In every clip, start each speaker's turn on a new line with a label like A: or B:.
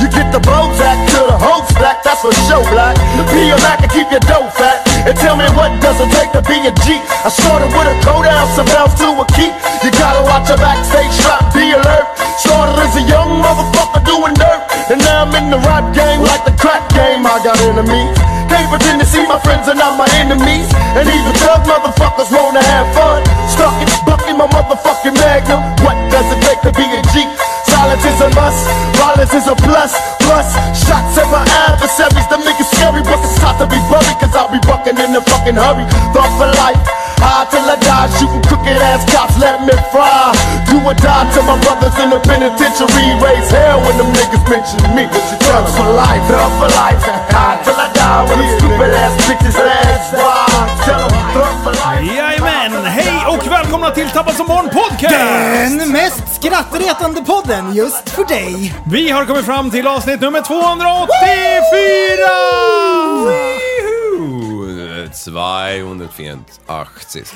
A: You get the Bozak to the whole stack, that's for show black. Be a Mac and keep your dough fat. And tell me what does it take to be a G? I started with a cold ounce and bounced to a key. You gotta watch your backstage trap, be alert. Started as a young motherfucker doing dirt. And now I'm in the rap game like the crack game. I got enemies. Can't pretend to see my friends are not my enemies. And even drug motherfuckers wanna have fun. Stuck in, bucking my motherfucking magnum. What does it take to be a G? Silence is a must, violence is a plus. Plus, shots at my adversaries. Them niggas scary, but it's time to be buried. Cause I'll be bucking in a fucking hurry. Thought for life, high till I die. Shooting crooked ass cops, let me fry. Do or die to my brothers in the penitentiary. Raise hell when them niggas mention me. Drugs for life, drugs for life. High till I die with them stupid ass bitches. That's why. Tell them drugs for life.
B: Jajamän! Hej och välkomna till Tappad som barn podcast!
C: Den mest skrattretande podden just för dig.
B: Vi har kommit fram till avsnitt nummer 284!
D: Juhu! 284. Det är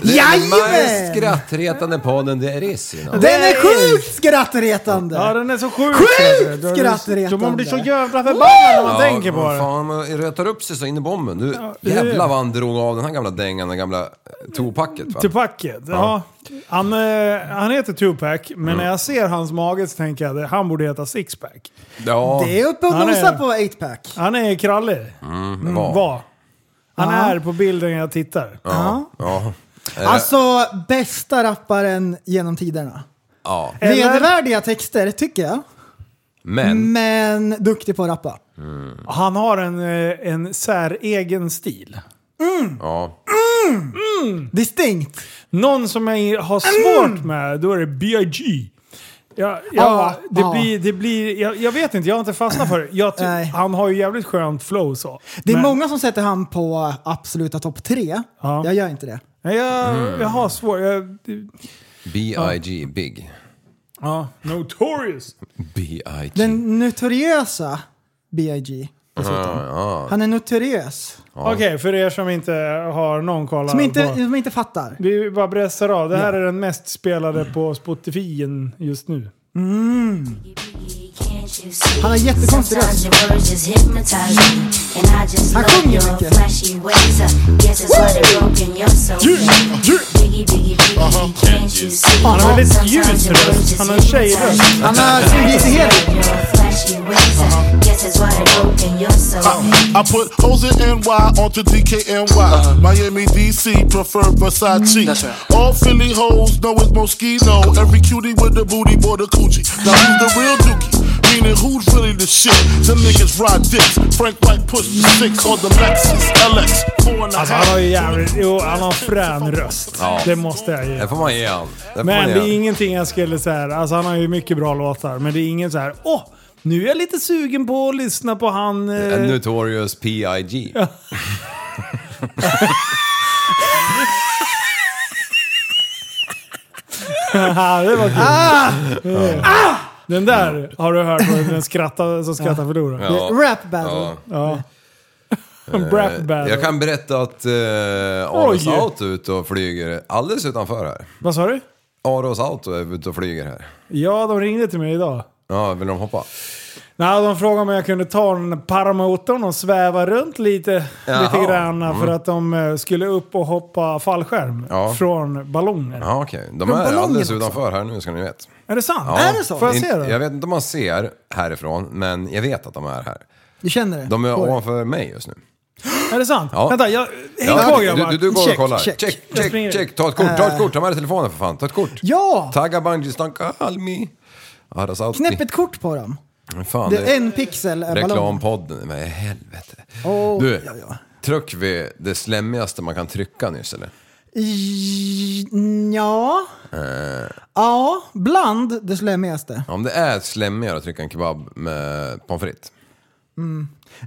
D: den
C: Jajamän!
D: mest skrattretande podden det är i
C: Den är sjukt skrattretande.
B: Ja, den är så sjuk!
C: Sjukt
B: alltså. Då-
C: skrattretande.
B: Man blir så jävla förbannad när man tänker på
D: vad
B: det.
D: fan, man retar upp sig så in i bomben. Du, jävlar vad han drog av den här gamla dängan, den gamla eh, topacket
B: Typ,
D: va?
B: Tupac, ja. Han, eh, han heter Tupac, men
D: Mm.
B: när jag ser hans mage så tänker jag att han borde heta Sixpack.
D: Ja,
C: Det är uppe och
B: Ja, det är
C: nosar
B: det.
C: på 8-pack.
B: Han är krallig.
D: mm, va.
B: Var. Han är på bilden jag tittar.
D: Ja, ja.
B: Eh.
C: Alltså, bästa rapparen genom tiderna.
D: ja.
B: Eller-
C: Vedervärdiga texter, tycker jag.
D: Men,
C: Mm. Men duktig på att rappa.
B: Han har en, eh, en säregen stil.
D: ja.
C: Distinkt.
B: Någon som jag har
C: Mm.
B: svårt med, då är det B.I.G. Ja, ja,
C: Ja,
B: det,
C: ja.
B: Blir, det blir... Jag, jag vet inte, jag har inte fastnat för det. Jag ty-
C: ah. Nej.
B: han har ju jävligt skönt flow så.
C: Det är
B: Men-
C: många som sätter han på absoluta topp tre.
B: Ja.
C: Jag gör inte det.
B: Nej, Jag, jag har svårt... Jag, det-
D: B.I.G. Big.
B: ja. Notorious!
D: B.I.G.
C: Den notoriösa B.I.G. dessutom. Han är notoriös.
B: Okej, för er som inte har någon koll
C: Som inte,
B: på...
C: som inte fattar.
B: Vi bara pressar av. Det här är den mest spelade på Spotify just nu.
C: Han har jättekonstig röst.
E: Han
C: sjunger mycket.
E: Han
B: har väldigt ljus röst. Han har en tjejröst.
C: Han har sugit helt.
A: I put hoes in NY onto DKNY. Miami, DC, prefer Versace. All Philly hoes know it's Moschino. Every cutie with the booty, boy, the coochie. Now who's the real dookie? Meaning who's really the shit? Some niggas ride dicks. Frank White pushed the six on the Lexus LX. Four and a
B: Alltså han har ju
A: half.
B: jävligt... Jo, han har en frän röst. Det måste jag ge.
D: Det får man ge han. Det får
B: Men
D: man
B: det
D: ge
B: är
D: han.
B: ingenting jag skulle säga. Alltså han har ju mycket bra låtar, men det är ingen så här. åh, nu är jag lite sugen på att lyssna på han...
D: A
B: Eh,
D: Notorious P.I.G.
B: haha, det var kul.
D: Ah!
B: Eh, Den där har du hört, vad den skrattar, som skrattar förlorar. Ja.
D: Ja. eh,
C: Rap battle.
B: Brap battle.
D: Jag kan berätta att eh, Aros
B: Oj.
D: Auto är ute och flyger alldeles utanför här.
B: Vad sa du?
D: Aros Auto är ute och flyger här.
B: Ja, de ringde till mig idag.
D: Ja, vill de hoppa?
B: Nej, de frågade om jag kunde ta den paramotorn och sväva runt lite,
D: Jaha. Mm.
B: lite grann för att de eh, skulle upp och hoppa fallskärm
D: Ja.
B: från ballonger.
D: Ja, okej. De
C: Från
D: är
C: ballongen
D: alldeles
C: också.
D: utanför här nu ska ni veta.
B: Är det sant?
D: Ja.
C: Är det så?
B: Får jag
D: In-
B: se
D: Jag
B: det?
D: vet inte om man ser härifrån, men jag vet att de är här.
C: Du känner det?
D: De är
C: Går det?
D: ovanför mig just nu.
B: Är det sant?
D: Ja.
B: Vänta, jag Häng kvar grabbar.
D: Du, du, du går och
C: Check,
D: kollar. Check,
C: check. Eh.
D: check,
B: Jag
D: check.
B: springer.
D: Ta ett kort, ta ett kort. Ta med dig telefonen för fan. Ta ett kort.
C: Ja!
D: Tagga bungystanka halmi. Arasauti.
C: Knäpp ett kort på dem.
D: Fan,
C: Det
D: det-
C: är en pixel är ballong.
D: Reklampodden, men helvete.
C: Åh,
D: du,
C: ja, ja.
D: tryck vid det slemmigaste man kan trycka nyss eller?
C: I- Ja. Eh. Ja, bland det slemmigaste.
D: Om det är slemmigare att trycka en kebab med pommes frites.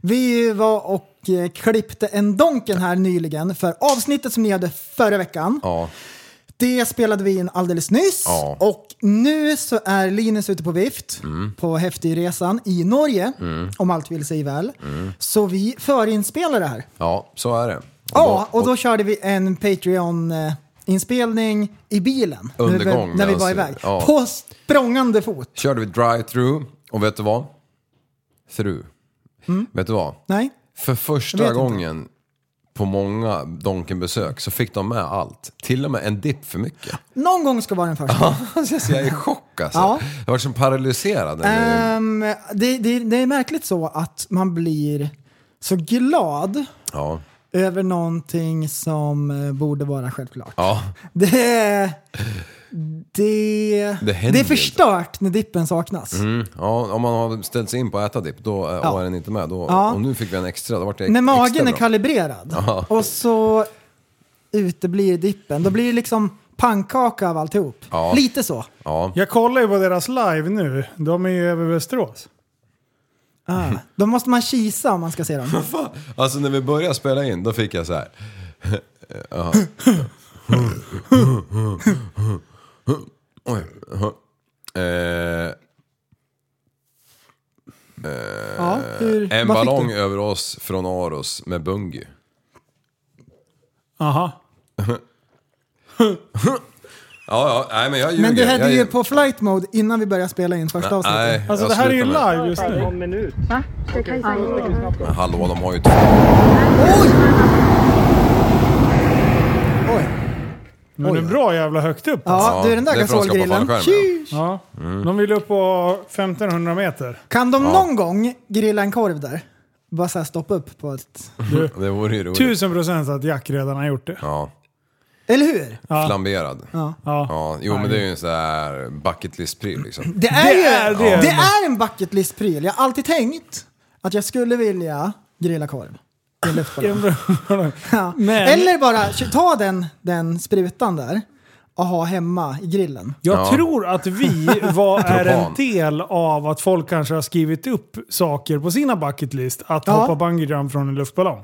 C: Vi var och eh, klippte en Donken här nyligen för avsnittet som ni hade förra veckan.
D: Ja.
C: Det spelade vi in alldeles nyss
D: Ja.
C: och nu så är Linus ute på vift på Häftigresan i Norge om allt vill sig väl. Så vi förinspelar det här.
D: ja, så är det. Och
C: Ja,
D: då-
C: och då körde vi en Patreon-inspelning i bilen.
D: Under
C: när vi-
D: gång,
C: När vi var
D: alltså.
C: iväg.
D: Ja.
C: På språngande fot.
D: körde vi drive-through och vet du vad? Through. Vet du vad?
C: Nej?
D: För
C: Mm. Jag
D: första
C: vet inte.
D: gången på många Donken-besök så fick de med allt. Till och med en dipp för mycket.
C: Någon gång ska vara den första.
D: Alltså, jag är i chock alltså.
C: Ja.
D: Jag var som paralyserad. när vi-
C: Ehm, det, det, det är märkligt så att man blir så glad
D: Ja.
C: över någonting som eh, borde vara självklart.
D: ja,
C: Det, det,
D: Det händer Mm.
C: det är förstört när dippen saknas.
D: Ja, om man har ställt sig in på att äta dipp då ja. var den inte med. Då,
C: Ja.
D: Och nu fick vi en extra, då vart det ex-
C: När
D: extra
C: magen är
D: bra.
C: kalibrerad och så uteblir dippen, då blir det liksom pannkaka av alltihop.
D: Ja.
C: Lite så.
D: Ja,
B: Jag kollar ju på deras live nu. De är ju över Västerås.
C: Ah. Då måste man kisa om man ska se dem.
D: alltså när vi började spela in då fick jag så här. Eh, Ja. Oj. Eh,
C: Ja, hur,
D: Eh, en
C: vad fick
D: ballong
C: du?
D: över oss från Aros med Bungy.
B: Aha.
D: Ja, ja, nej men jag ljuger.
C: Men du hade
D: jag,
C: ju på flight mode innan vi började spela in första avsnittet.
D: Nej,
B: Alltså
D: Eh, jag
B: det här är ju
D: slutar med-
B: live just nu.
D: Men hallå, de har ju två.
C: Oj.
B: Men det är bra jävla högt upp. alltså.
C: Ja,
D: Ja,
C: du den där
D: det är för att de ska på
C: gasolgrillen.
D: fallskärmen,
C: Tju!
B: Ja.
D: Mm.
B: De vill upp på 1500 meter.
C: Kan de någon gång grilla en korv där? Bara så här stoppa upp på ett...
D: Det vore ju roligt.
B: Tusen procent att Jack redan har gjort det.
D: Ja,
C: Eller hur?
D: flamberad. Ja.
B: Ja.
D: ja, jo men det är ju en sån här bucket list-pryl liksom.
C: Det är ju
B: är det.
C: det är en bucket list-pryl. Jag har alltid tänkt att jag skulle vilja grilla korv. i en luftballong. Ja.
B: Men-
C: Eller bara ta den, den sprutan där och ha hemma i grillen.
B: Jag
D: Ja.
B: tror att vi var, är
D: Propan.
B: en del av att folk kanske har skrivit upp saker på sina bucket list. Att
C: Ja.
B: hoppa bungee jump från en luftballong.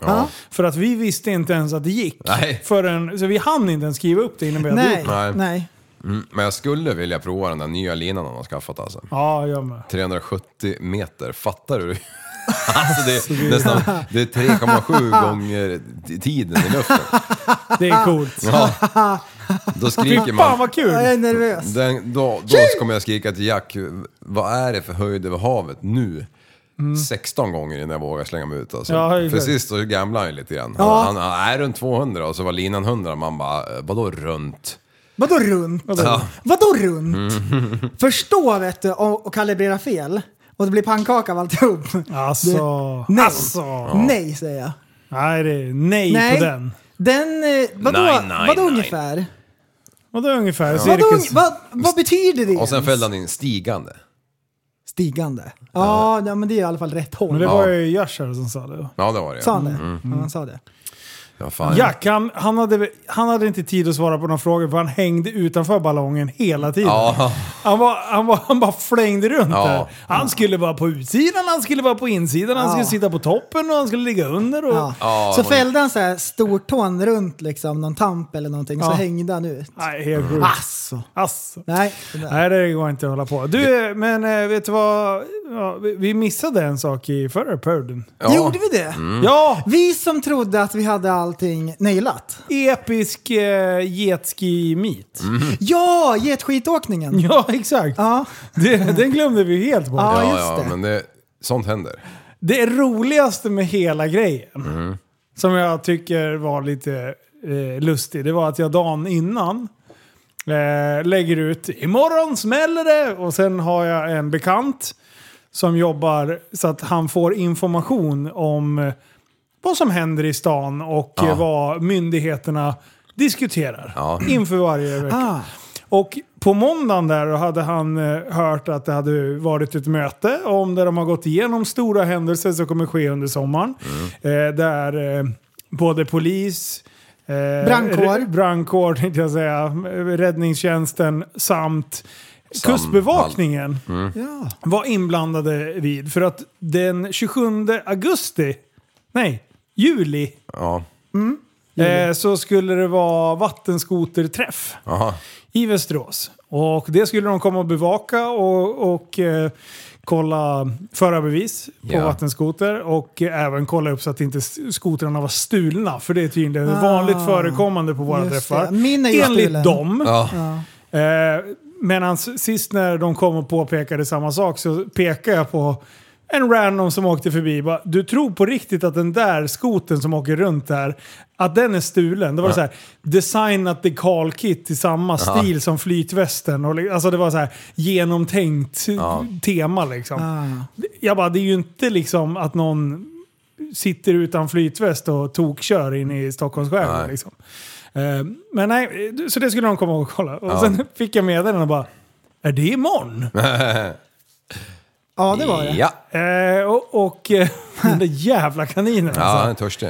B: För att vi visste inte ens att det gick.
D: Nej.
B: Förrän, så vi hann inte ens skriva upp det innan vi hade
C: Nej,
B: gjort det.
D: Nej.
C: nej.
D: Mm, men jag skulle vilja prova den där nya linan han har skaffat alltså.
B: Ja, jag med.
D: 370 meter, fattar du? Alltså det är nästan det är 3,7 gånger t- tiden i luften.
B: Det är coolt.
D: Ja. Då skriker
B: Fan
D: man.
B: vad kul!
C: Ja, Jag är nervös.
D: Den, då, då kommer jag skrika till Jack, vad är det för höjd över havet nu? 16 gånger innan jag vågar slänga mig ut alltså.
B: Mm. Ja, det är
D: För
B: klart.
D: sist så gamblade han ju lite grann.
C: Ja.
D: Han, han är runt 200 och så var linan 100 man bara, vadå runt?
C: Vadå runt? Vadå runt? Förstå vet du och, och kalibrera fel och det blir pannkaka av alltihop.
B: Alltså...
C: Nej.
B: Alltså.
C: Nej säger jag.
B: Nej, det är nej,
C: Nej.
B: på den.
C: Den, eh, vadå,
D: Nej, nej,
C: vadå
D: nej.
C: ungefär?
B: Vadå ungefär?
C: Vadå,
B: Cirkus?
C: vad, vad betyder det?
D: Och sen
C: ens?
D: fällde han in stigande.
C: Stigande. Ja, ja, men det är i alla fall rätt håll.
B: Men det
C: Sa
B: var ju Yashar som sa det.
D: Ja det var det
C: han det?
D: Mm.
C: Ja, han sa det.
D: Ja, fan.
B: Jack, han, han, hade, han hade inte tid att svara på några frågor för han hängde utanför ballongen hela tiden.
D: Ja.
B: Han, var, han, var, han bara flängde runt
D: Ja.
B: där. Han skulle vara på utsidan, han skulle vara på insidan, han
C: Ja.
B: skulle sitta på toppen och han skulle ligga under. Och...
C: Ja.
D: Ja,
C: så
D: det-
C: fällde han så här stortån runt liksom, någon tamp eller någonting, så
B: Ja.
C: hängde han ut.
B: Nej, helt sjukt.
C: Asså.
B: Alltså.
C: Nej, det
B: Nej,
C: där.
B: det går inte att hålla på. Du, men eh, vet du vad? Ja, vi- vi missade en sak i förra podden.
D: Ja.
C: Gjorde vi det?
D: Mm.
B: Ja!
C: Vi som trodde att vi hade allting nailat.
B: Episk eh, jetski-meet.
D: Mm.
C: Ja, getskitåkningen! Ja.
B: Ja, exakt.
C: Ja.
B: Det, den glömde vi helt bort.
C: Ja,
D: Ja,
C: just
D: ja,
C: det.
D: men det, sånt händer.
B: Det roligaste med hela grejen, som jag tycker var lite eh, lustig, det var att jag dagen innan eh, lägger ut “Imorgon smäller det!” och sen har jag en bekant som jobbar så att han får information om eh, vad som händer i stan och eh, vad myndigheterna diskuterar
D: Ja.
B: inför varje vecka.
C: Ah,
B: Och på måndagen där då hade han eh, hört att det hade varit ett möte om där de har gått igenom stora händelser som kommer ske under sommaren. Eh, där eh, både polis, eh,
C: Brandkår.
B: r- brandkår tänkte jag säga, räddningstjänsten samt Kustbevakningen
C: ja.
B: var inblandade vid. För att den 27 augusti, nej, juli,
D: Ja.
B: eh, så skulle det vara vattenskoterträff
D: Aha.
B: i Västerås. Och det skulle de komma och bevaka och, och eh, kolla förarbevis på
D: Ja.
B: vattenskoter och eh, även kolla upp så att inte s- skotrarna var stulna. För det är tydligen vanligt förekommande på våra
C: Ah. just det.
B: träffar.
C: Min är ju stulen.
B: Enligt dem.
D: Ja.
B: Eh, Medan sist när de kom och påpekade samma sak så pekade jag på en random som åkte förbi. Bara, du tror på riktigt att den där skoten som åker runt där, att den är stulen? Det var så här, designat i Carl Kit i samma stil som flytvästen. Och, li- alltså det var så här genomtänkt tema liksom. Jag bara, det är ju inte liksom att någon sitter utan flytväst och tokkör in i Stockholms skärgård.
D: Nej.
B: Liksom. Eh, Men nej, så det skulle de komma och kolla. Och sen fick jag meddelanden och bara, är det imorgon?
C: ja, det var det.
D: Ja,
B: Eh, och och eh, den där jävla kaninen
D: ja han
B: alltså.
D: är törstig.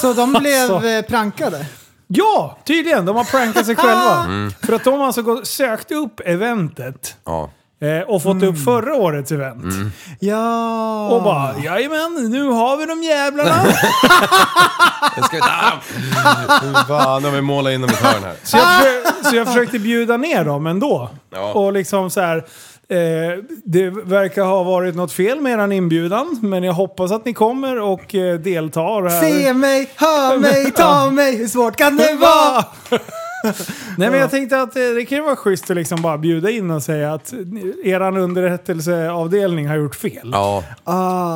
C: Så de blev
B: Alltså.
C: eh, prankade.
B: Ja, tydligen. De har prankat sig själva. För att de har alltså gått, sökt upp eventet
D: Ja.
B: eh, och fått upp förra årets event.
C: Ja.
B: Och bara, jajamän, nu har vi de jävlarna.
D: Jag ska ta Hur fan har vi målat inom ett hörn här?
B: Så jag, försö- så jag försökte bjuda ner dem ändå.
D: Ja.
B: Och liksom så här, eh, det verkar ha varit något fel med er inbjudan, men jag hoppas att ni kommer och eh, deltar. Här.
C: Se mig, hör mig, ta mig. Hur svårt kan det vara?
B: Va? Nej men jag tänkte att eh, det kan ju vara schysst att liksom bara bjuda in och säga att eran underrättelseavdelning har gjort fel.
D: Ja,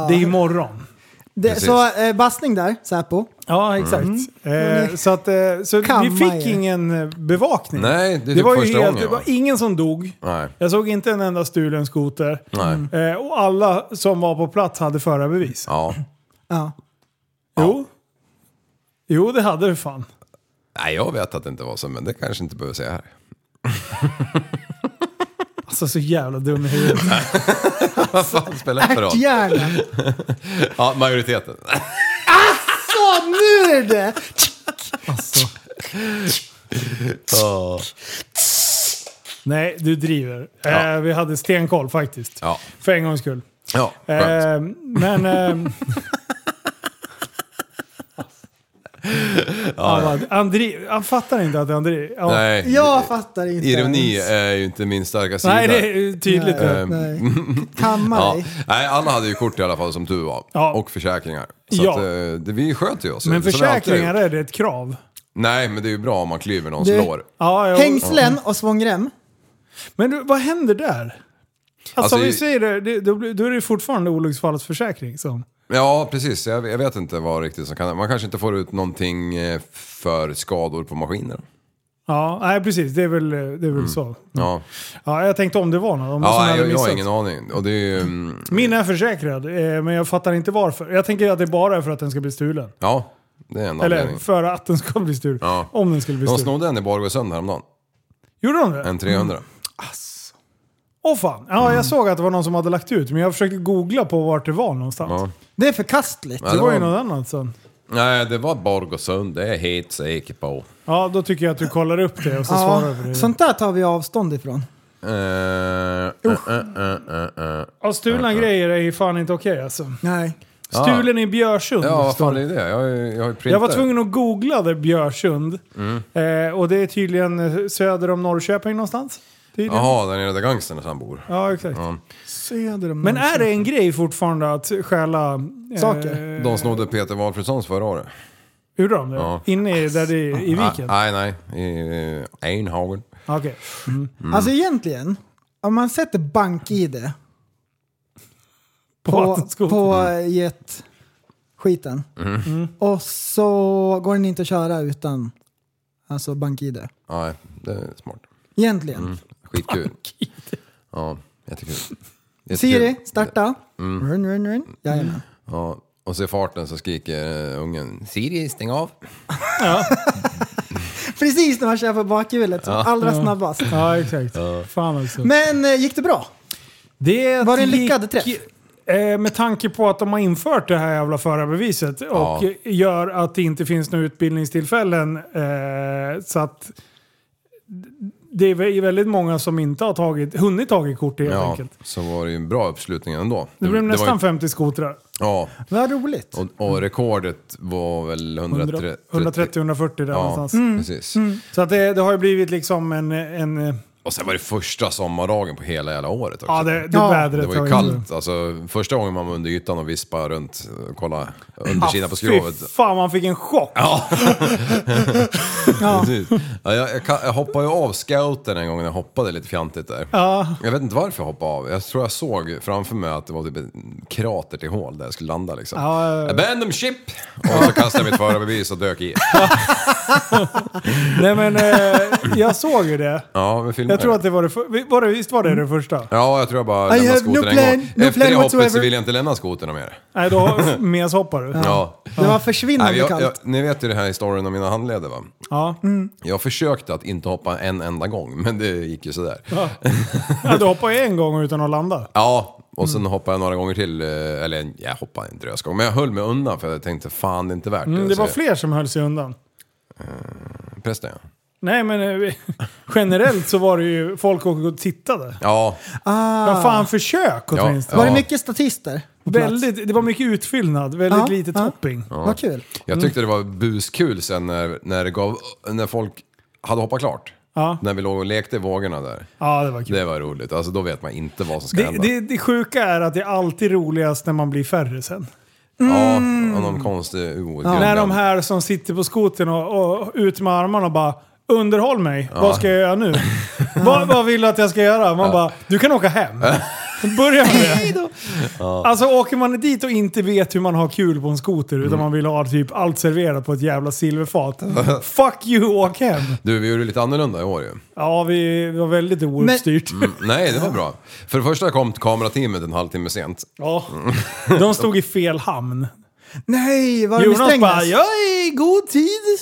B: Det är imorgon.
C: Det,
D: Precis.
C: så eh, bassning där, Säpo.
B: Ja, exakt.
D: Mm.
B: Eh, så att, eh, så vi
C: Kamma
B: fick
C: er.
B: ingen eh, bevakning.
D: Nej, det är
B: det
D: typ
B: var ju
D: första
B: helt,
D: gången,
B: Det var
D: va?
B: ingen som dog.
D: nej.
B: Jag såg inte en enda stulen skoter.
D: Nej.
B: Eh, och alla som var på plats hade förarbevis.
D: Ja.
C: Ja.
B: Jo. Jo, det hade du fan.
D: Nej, jag vet att det inte var så, men det kanske inte behöver säga här.
B: Alltså så jävla dum i huvudet.
D: Vad fan spelar Alltså, det för roll?
C: Hjärnan.
D: Ja, majoriteten.
C: Så nu är det!
B: Nej, du driver.
D: Ja.
B: Eh, vi hade stenkoll faktiskt.
D: Ja.
B: För en gångs skull.
D: Ja, skönt.
B: Eh, men... Eh, han, bara, han, driv, han fattar inte att han driver. Ja.
D: Nej,
C: Jag fattar inte.
D: ironi
C: ens.
D: är ju inte min starka sida.
B: Nej, det är tydligt.
C: Nej,
D: Eh,
B: Nej.
C: nej. Kamma
D: Ja.
C: dig.
D: Nej, alla hade ju kort i alla fall som tur var.
B: Ja.
D: Och försäkringar. Så
B: Ja.
D: att, eh, det, vi sköt ju oss.
B: Men
D: som vi alltid har
B: försäkringar
D: gjort.
B: är det ett krav.
D: Nej, men det är ju bra om man klyver någons
C: Du-
D: lår.
B: Ja, jo.
C: Hängslen och svångrem.
B: Men du, vad händer där? Alltså,
D: Alltså,
B: om vi
D: i-
B: säger det, det då, blir- då är det fortfarande olycksfallsförsäkring. Som.
D: Ja, precis. Jag, jag vet inte vad riktigt som kan Man kanske inte får ut någonting eh, för skador på maskiner.
B: Ja, nej precis. Det är väl, det är väl så.
D: Ja,
B: Ja, jag tänkte om det var någon. Om någon som
D: Mm. ja
B: hade
D: jag, jag har
B: missat.
D: ingen aning. Och det är ju... mm,
B: Min är försäkrad, eh, men jag fattar inte varför. Jag tänker att det bara är för att den ska bli stulen.
D: Ja, det är en
B: Eller
D: anledning.
B: för att den ska bli stulen.
D: Ja.
B: Om den skulle bli
D: De
B: stulen.
D: snodde en i Borgåsund häromdagen.
B: Gjorde de det?
D: En 300.
B: Mm. Åh fan. Ja,
D: Mm.
B: jag såg att det var någon som hade lagt ut, men jag försökte googla på vart det var någonstans.
D: Ja.
C: Det är förkastligt.
D: Ja,
B: Det
D: det
B: var ju
D: var-
B: något annat sen.
D: Nej, det var Borgåsund. Det är jag helt säker på.
B: Ja, då tycker jag att du kollar upp det och så svarar
C: Ja,
B: du på det.
C: sånt där tar vi avstånd ifrån.
D: Eh, eh, eh, eh, eh.
B: Ja, stulna grejer är ju fan inte okej alltså.
C: Nej.
B: Stulen i Björsund.
D: Ja, vad
B: står
D: fan
B: det.
D: är det? Jag, har ju- jag har ju printat.
B: jag var tvungen att googla det, Björsund.
D: Mm.
B: Eh, och det är tydligen eh, söder om Norrköping någonstans. Tydligen.
D: Jaha, där nere där gangstern han bor.
B: Ja, exakt.
C: Söder om
B: Men är det en grej fortfarande att stjäla... eh,
C: Saker.
D: De snodde Peter Walfridssons förra året.
B: Gjorde de det?
D: Ja. Ah,
B: Inne i, där det, i viken?
D: Nej, nej. I eh, Einhagen.
B: Okej.
C: Alltså egentligen, om man sätter bank-id
B: På
C: på,
B: vattenskotern.
C: på eh, jetskiten Mm. och så går den inte att köra utan alltså bank-id.
D: Nej, det är smart.
C: Egentligen.
D: Skitkul. Ja, jättekul. Jättekul. Mm.
C: Siri, starta. Run, run, run. Jajamän.
D: Ja, och Och så i farten så skriker eh, ungen Siri, stäng av.
C: Precis när man kör på bakhjulet, som allra snabbast.
B: Ja, exakt. Fan också.
C: Men eh, gick det bra?
B: Det
C: Var det en lyckad
B: gick-
C: träff?
B: eh, Med tanke på att de har infört det här jävla förarbeviset och
D: Ja.
B: gör att det inte finns några utbildningstillfällen. Eh, så att det är vä- väldigt många som inte har tagit, hunnit tagit kort helt
D: Ja,
B: enkelt.
D: så var det ju en bra uppslutning ändå.
B: Det blev
D: var ju-
B: nästan 50 skotrar.
D: Ja,
C: Vad roligt.
D: och, och rekordet var väl 130...
B: 130-140 där
D: Ja,
B: någonstans. Mm.
D: precis.
B: Så att det, det har ju blivit liksom en... en
D: Och sen var det första sommardagen på hela jävla året också.
B: ja, det, det
C: Ja.
B: vädret
D: Det var
B: har
D: ju kallt. Alltså, första gången man var under ytan och vispade runt och kollade undersidan på skrovet.
B: Ah, Fy fan, man fick en chock!
C: Ja.
D: Precis. Ja, jag, jag, kan- jag hoppade ju av scouten en gång när jag hoppade lite fjantigt där. Jag vet inte varför jag hoppade av. Jag tror jag såg framför mig att det var typ en krater till hål där jag skulle landa liksom. Abandon ship! Och så kastade jag mitt förarbevis och dök i.
B: Nej men, eh, jag såg ju det.
D: Ja, vi filmade
B: Jag tror att det var det, för, var det Visst var det det första?
D: Ja, jag tror jag bara
C: I
D: lämnade
C: have no
D: skotern en
C: plan,
D: gång.
C: no
D: Efter
C: plan
D: det hoppet så
C: whatsoever.
D: vill jag inte lämna skotern mer.
B: Nej, då meshoppar du.
D: Ja.
C: Det var
D: Nej,
C: försvinnande
D: jag,
C: kallt.
D: jag, ni vet ju den här historien om mina handleder va?
B: Ja.
C: Mm.
D: Jag försökte att inte hoppa en enda gång, men det gick ju sådär.
B: Ja, du hoppar ju en gång utan att landa.
D: Ja, och sen hoppade jag några gånger till. eh, Eller jag hoppade en drösgång, men jag höll mig undan för jag tänkte fan det är inte värt det.
B: Mm, det
D: Så
B: var
D: jag-
B: fler som höll sig undan.
D: Prästen ja.
B: Nej men eh, generellt så var det ju folk åkte och tittade.
D: Ja,
C: Ah.
B: Ja, fan försök åtminstone.
C: Var det
D: Ja.
C: mycket statister? på plats?
B: Väldigt, det var mycket utfyllnad, väldigt
C: Ja,
B: lite
C: ja.
B: topping.
C: Vad kul.
D: jag tyckte det
B: Mm.
D: var buskul sen när, när, det gav, när folk hade hoppat klart.
B: Ja.
D: När vi låg och lekte i vågorna där.
B: Ja, det var kul.
D: Det var roligt. Alltså då vet man inte vad som ska
B: Det,
D: hända.
B: det, det sjuka är att det är alltid roligast när man blir färre sen.
D: Ja, av någon konstig outgrundlig
B: Mm. När de här som sitter på skoten och, och ut med armarna och bara Underhåll mig, vad ska jag göra nu? vad, vad vill du att jag ska göra? Man bara, du kan åka hem. Börja med det. Alltså åker man dit och inte vet hur man har kul på en skoter utan man vill ha typ allt serverat på ett jävla silverfat. Fuck you, åk hem!
D: Du, vi gjorde lite annorlunda i år ju. Mm,
B: Ja, vi var väldigt ouppstyrt.
D: Nej, det var bra. För det första kom kamerateamet en halvtimme sent.
B: Ja. De stod i fel hamn.
C: Nej, var det med
B: Jonas bara,
C: Strängnäs?
B: jag är i god tid.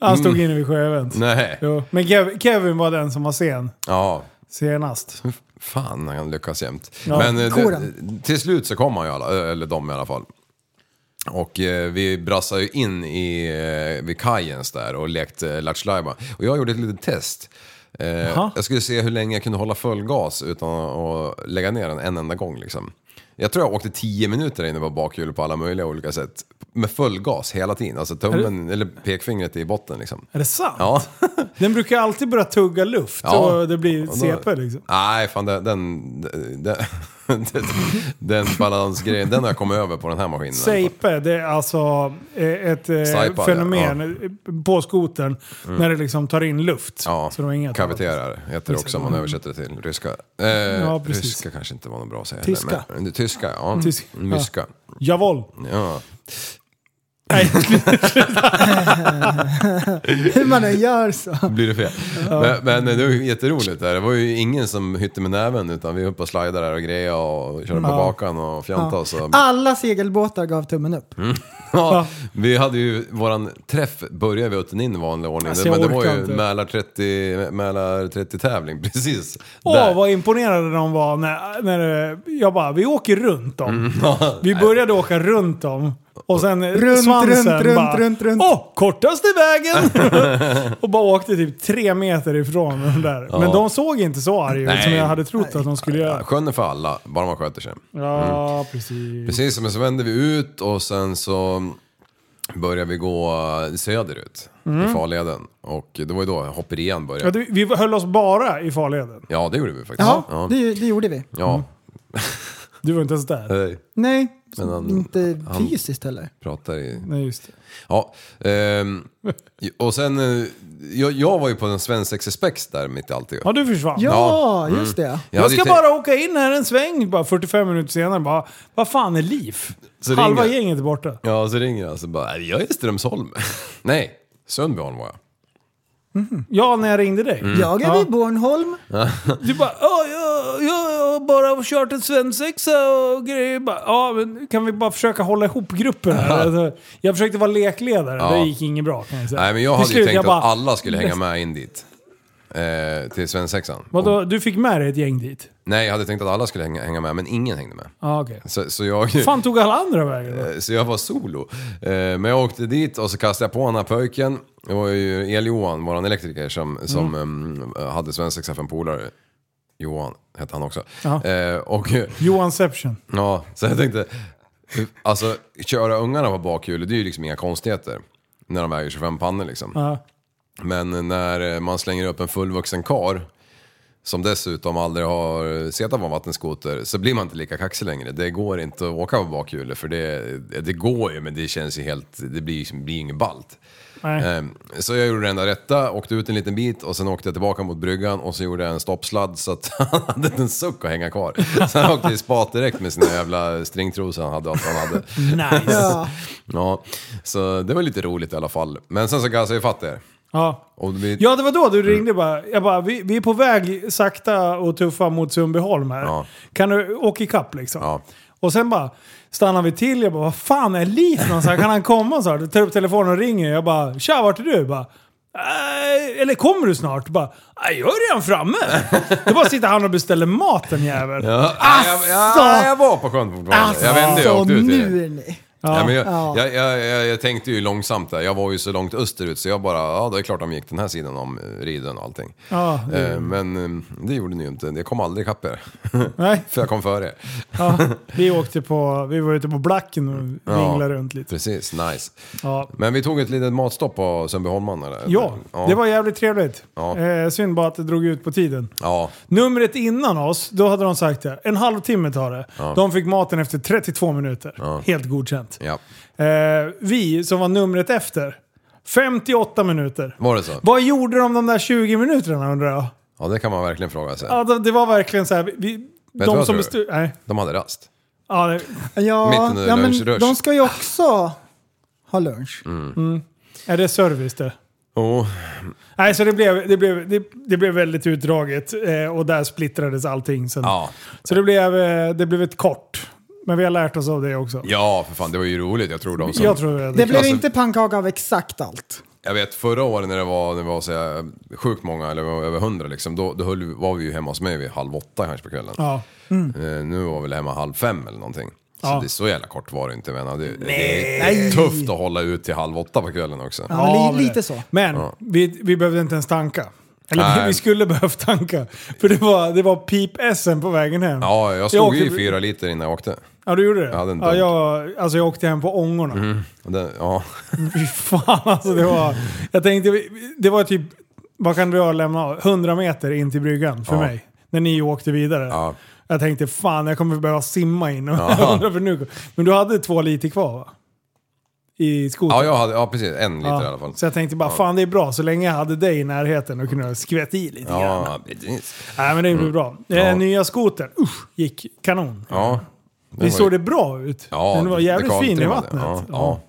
B: Han stod inne vid sjöevent.
D: Nej.
B: Jo. Men Kev- Kevin var den som var sen.
D: Ja,
B: Senast.
D: fan han lyckas jämt.
B: Ja,
D: Men eh, det,
C: koren.
D: till slut så kom han ju alla, eh, eller de i alla fall. Och eh, vi brassade ju in i, eh, vid kajens där och lekte Lattjo Lajban. Och jag gjorde ett litet test. Eh, jag skulle se hur länge jag kunde hålla full gas utan att lägga ner den en enda gång liksom. Jag tror jag åkte 10 minuter inne på bakhjulet på alla möjliga olika sätt. Med full gas hela tiden, alltså tummen eller pekfingret i botten liksom.
B: Är det sant?
D: Ja.
B: Den brukar alltid börja tugga luft
D: Ja.
B: och det blir
D: Och då-
B: CP liksom.
D: Nej, fan den... Den, den, den, den balansgrejen, den har jag kommit över på den här maskinen.
B: Seipe, det är alltså eh, ett eh,
D: Saipa, Mm.
B: fenomen eh, på skotern när det liksom tar in luft.
D: Ja,
B: Så de har inget
D: kaviterar heter det också om man översätter det till ryska. Eh, ja,
B: precis.
D: ryska kanske inte var något bra att säga.
B: Tyska.
D: heller, Men, tyska, ja.
B: Tysk-
D: Mm, Myska.
B: annat. Javol.
D: Ja.
B: Nej,
C: Hur man än gör så.
D: Blir det fel? Men, men det var ju jätteroligt där. Det var ju ingen som hytte med näven utan vi höll på och slidade där och grejade och körde på bakan och fjantade oss.
B: Ah,
D: Och,
C: Alla segelbåtar gav tummen upp.
D: Ja, vi hade ju, våran träff började vi utan in i vanlig ordning.
B: Alltså,
D: det,
B: jag
D: men det var
B: orkar
D: ju
B: inte.
D: Mälar 30, Mälar 30 tävling, precis.
B: Åh,
D: där.
B: vad imponerade de var när, när det- jag bara, vi åker runt dem. Vi började åka runt dem. Och sen
C: Mm, Runt,
B: svansen
C: runt, runt,
B: bara,
C: runt, runt.
B: Åh, kortaste vägen! och bara åkte typ tre meter ifrån dem där. Men de såg inte så arga ut
D: Nej.
B: som jag hade trott att de skulle göra.
D: Sjön är för alla, bara man sköter
B: Mm.
D: sig.
B: Ja,
C: Mm.
B: precis.
D: Precis, men så vände vi ut och sen så började vi gå söderut i farleden. Och det var ju då
B: Mm.
D: hopperian
B: Ja,
D: började.
B: det, vi höll oss bara i farleden.
D: Ja, det gjorde vi faktiskt.
C: Ja,
D: Ja.
C: Det, det gjorde vi.
B: Mm.
D: ja.
B: Du var inte ens
C: Eh.
B: där.
D: Hej.
C: Nej,
D: Men han-
C: inte
D: han-
C: fysiskt heller.
D: Pratar i...
B: Nej, just det.
D: Ja. ehm, och sen... eh, Jag, jag var ju på en svensexespex där mitt i allt. ju.
B: Ja, du försvann.
C: Ja, just det.
B: Jag
D: hade ju
B: ska
D: tänkt-
B: bara åka in här en sväng. Bara 45 minuter senare bara, vad fan är liv?
D: Så
B: Halva
D: ringer-
B: gänget är borta.
D: Ja, så ringer han så bara, jag är i Strömsholm. Nej, Sundbyholm var jag.
B: Ja, när jag ringde dig.
D: Mm.
C: Jag är
B: Ja.
C: vid Bornholm.
B: Du bara, ja, ja, ja, ja, bara och kört en svensexa och grejer. Bara, Ja, men kan vi bara försöka hålla ihop gruppen här? Alltså, jag försökte vara lekledare,
D: Ja.
B: det gick inget bra kan jag säga.
D: Nej men jag
B: Till
D: hade ju
B: slut,
D: tänkt
B: jag bara,
D: att alla skulle hänga med in dit. Eh, till svensexan. Och-
B: Vadå, du fick med dig ett gäng dit?
D: Nej, jag hade tänkt att alla skulle hänga, hänga med, men ingen hängde med.
B: Ja, okej.
D: Så, så, jag,
B: fan tog alla andra vägen då?
D: så jag var solo. Eh, Men jag åkte dit och så kastade jag på den här pojken. Det var ju El-Johan, våran elektriker, som, som eh, hade svensexa för en polare. Johan hette han också.
B: Ja.
D: Eh, och
B: Johanception.
D: Ja, så jag tänkte, alltså köra ungarna på bakhjulet det är ju liksom inga konstigheter. När de väger 25 pannor liksom.
B: Ja.
D: Men när eh, man slänger upp en fullvuxen kar som dessutom aldrig har sett av en vattenskoter så blir man inte lika kaxig längre. Det går inte att åka på bakhjulet för det, det går ju men det känns ju helt, det blir det blir ju inget ballt.
B: Nej.
D: Eh, Så jag gjorde det enda rätta, åkte ut en liten bit och sen åkte jag tillbaka mot bryggan och så gjorde jag en stoppsladd så att han hade inte en suck att hänga kvar. Så han åkte i spat direkt med sina jävla stringtrosor han hade och allt vad han hade.
B: Nice.
C: Ja.
D: Ja, så det var lite roligt i alla fall. Men sen så gasade jag fatt er.
B: Ja.
D: Och vi,
B: Ja, det var då du ringde bara. Jag bara, vi, vi är på väg sakta och tuffa mot Sundbyholm här.
D: Ja.
B: Kan du åka ikapp liksom?
D: Ja.
B: Och sen bara stannar vi till. Jag bara, vad fan är Lis någonstans? Kan han komma? Så här, tar upp telefonen och ringer. Jag bara, tja vart är du? Bara, "Eh, eller kommer du snart? Bara, "Nej, jag är redan framme. Då bara sitter han och beställer mat den jäveln.
D: Ja, jag, ja, jag var på sjön fortfarande. jag vände ju och
C: Så
D: åkte ut. i det.
C: Alltså, nu är ni.
D: Ja, men jag,
C: Ja.
D: jag, jag, jag, jag tänkte ju långsamt där. Jag var ju så långt österut så jag bara, ja det är klart de gick den här sidan om eh, Ridön och allting.
B: Ja, det-
D: Eh, Men eh, det gjorde ni ju inte. Jag kom aldrig ikapp er.
B: Nej,
D: För jag kom före er.
B: ja, vi åkte på, vi var ute på Blacken och vinglade runt lite.
D: Precis, nice.
B: Ja.
D: Men vi tog ett litet matstopp på Sundbyholman eller?
B: Ja, det var jävligt trevligt.
D: Ja.
B: Eh, synd bara att det drog ut på tiden.
D: Ja,
B: Numret innan oss, då hade de sagt det. En halvtimme tar det. De fick maten efter 32 minuter. Helt godkänt.
D: ja.
B: Eh, vi som var numret efter, 58 minuter.
D: Var det så?
B: Vad gjorde de de där 20 minuterna undrar jag?
D: Ja, det kan man verkligen fråga sig.
B: Ja, det, det var verkligen så här. Vi, vi-
D: du vad
B: de
D: jag
B: som
D: tror?
B: bestu- Nej.
D: De hade rast.
B: Ja, det,
C: Ja,
D: Mitt under
C: ja men
D: lunchrush.
C: de ska ju också ha lunch.
B: är det service det?
D: Jo,
B: Nej, så det blev, det blev, det, det blev väldigt utdraget eh, och där splittrades allting. Sen.
D: ja.
B: Så det blev, eh, det blev ett kort. Men vi har lärt oss av det också.
D: ja, för fan det var ju roligt. Jag tror de som...
B: Jag tror det.
C: Det blev
D: Alltså-
C: inte pannkaka av exakt allt.
D: Jag vet förra året när det var, när det var så här, sjukt många, eller var över hundra liksom, då, då höll, vi- var vi ju hemma hos mig vid halv åtta kanske på kvällen.
B: Ja. Mm.
D: Eh, nu var vi väl hemma halv fem eller någonting. Så
B: Ja.
D: det är så jävla kort var det inte. Men det, det är tufft att hålla ut till halv åtta på kvällen också.
C: Ja, men
B: Ja,
C: li, lite så.
B: Men vi, vi behövde inte ens tanka. Eller vi,
D: Nej.
B: vi skulle behövt tanka. För det var, det var pip-SM på vägen hem.
D: Ja, jag slog
B: åkte-
D: i fyra liter innan jag åkte.
B: Ja, du gjorde det?
D: Jag hade en
B: ja,
D: dunk. Mm.
B: jag, alltså jag åkte hem på ångorna.
D: Och Det, ja.
B: Fy fan alltså. Det var, jag tänkte, det var typ, vad kan du lämna av? 100 meter in till bryggan för
D: Ja.
B: mig. När ni åkte vidare.
D: Ja.
B: Jag tänkte fan jag kommer behöva simma in. Ja. för nu. Men du hade två liter kvar va? I skotern.
D: ja, jag hade, ja precis, en liter
B: Ja,
D: i alla fall.
B: Så jag tänkte bara, fan det är bra. Så länge jag hade dig i närheten och kunde jag skvätta i lite grann.
D: Ja, precis.
B: Nej men det blev bra. Ja.
D: Mm. Ja.
B: Nya skotern, usch, gick kanon.
D: Ja.
B: Vi såg det bra ut.
D: Ja,
B: den var
D: det-
B: jävligt
D: det
B: fin i
D: kaltrimmade.
B: vattnet.
D: Ja, ja.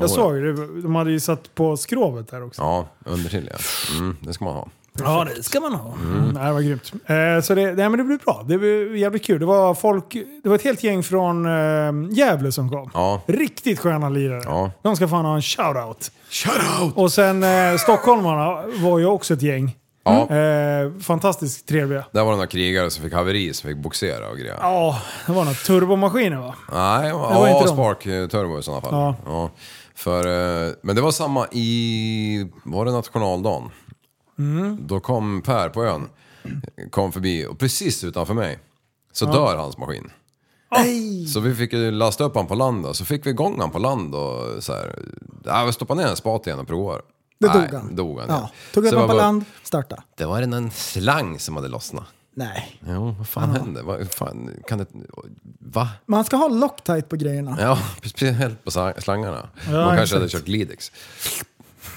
B: Jag såg det. De hade ju satt på skrovet här också.
D: Ja, undertill ja. Mm, det ska man ha.
B: Ja, det ska man ha. Mm. Nej, det var grymt. Eh, så det, nej, men det blev bra. Det blev jävligt kul. Det var, folk, det var ett helt gäng från eh, Gävle som kom.
D: Ja.
B: Riktigt sköna lirare.
D: Ja.
B: De ska fan ha en shout-out. Shout-out! Och sen eh, stockholmarna var ju också ett gäng.
D: Ja.
B: Eh, fantastiskt trevliga.
D: Där var det några krigare som fick haveri, som fick boxera och grejer.
B: Ja, det var några turbomaskiner va?
D: Nej,
B: var inte
D: ja,
B: de.
D: Spark eh, Turbo i sådana fall.
B: Ja.
D: Ja. För, eh, men det var samma i, var det nationaldagen?
C: Mm.
D: Då kom Per på ön, kom förbi och precis utanför mig så dör hans maskin.
C: Ah.
D: Så vi fick ju lasta upp han på land då, så fick vi igång han på land och så här, ja, vi stoppade ner en spat igen och provar.
C: Det
D: Nej,
C: dog han.
D: Dog han
C: Ja. Tog upp
D: Så
C: honom på
D: jag bara,
C: land, starta.
D: Det var en slang som hade lossnat.
C: Nej.
D: Jo, vad fan hände? Vad fan, kan det... Va?
C: Man ska ha Loctite på grejerna.
D: Ja, speciellt på slang- slangarna. Man kanske hade kört Glidex.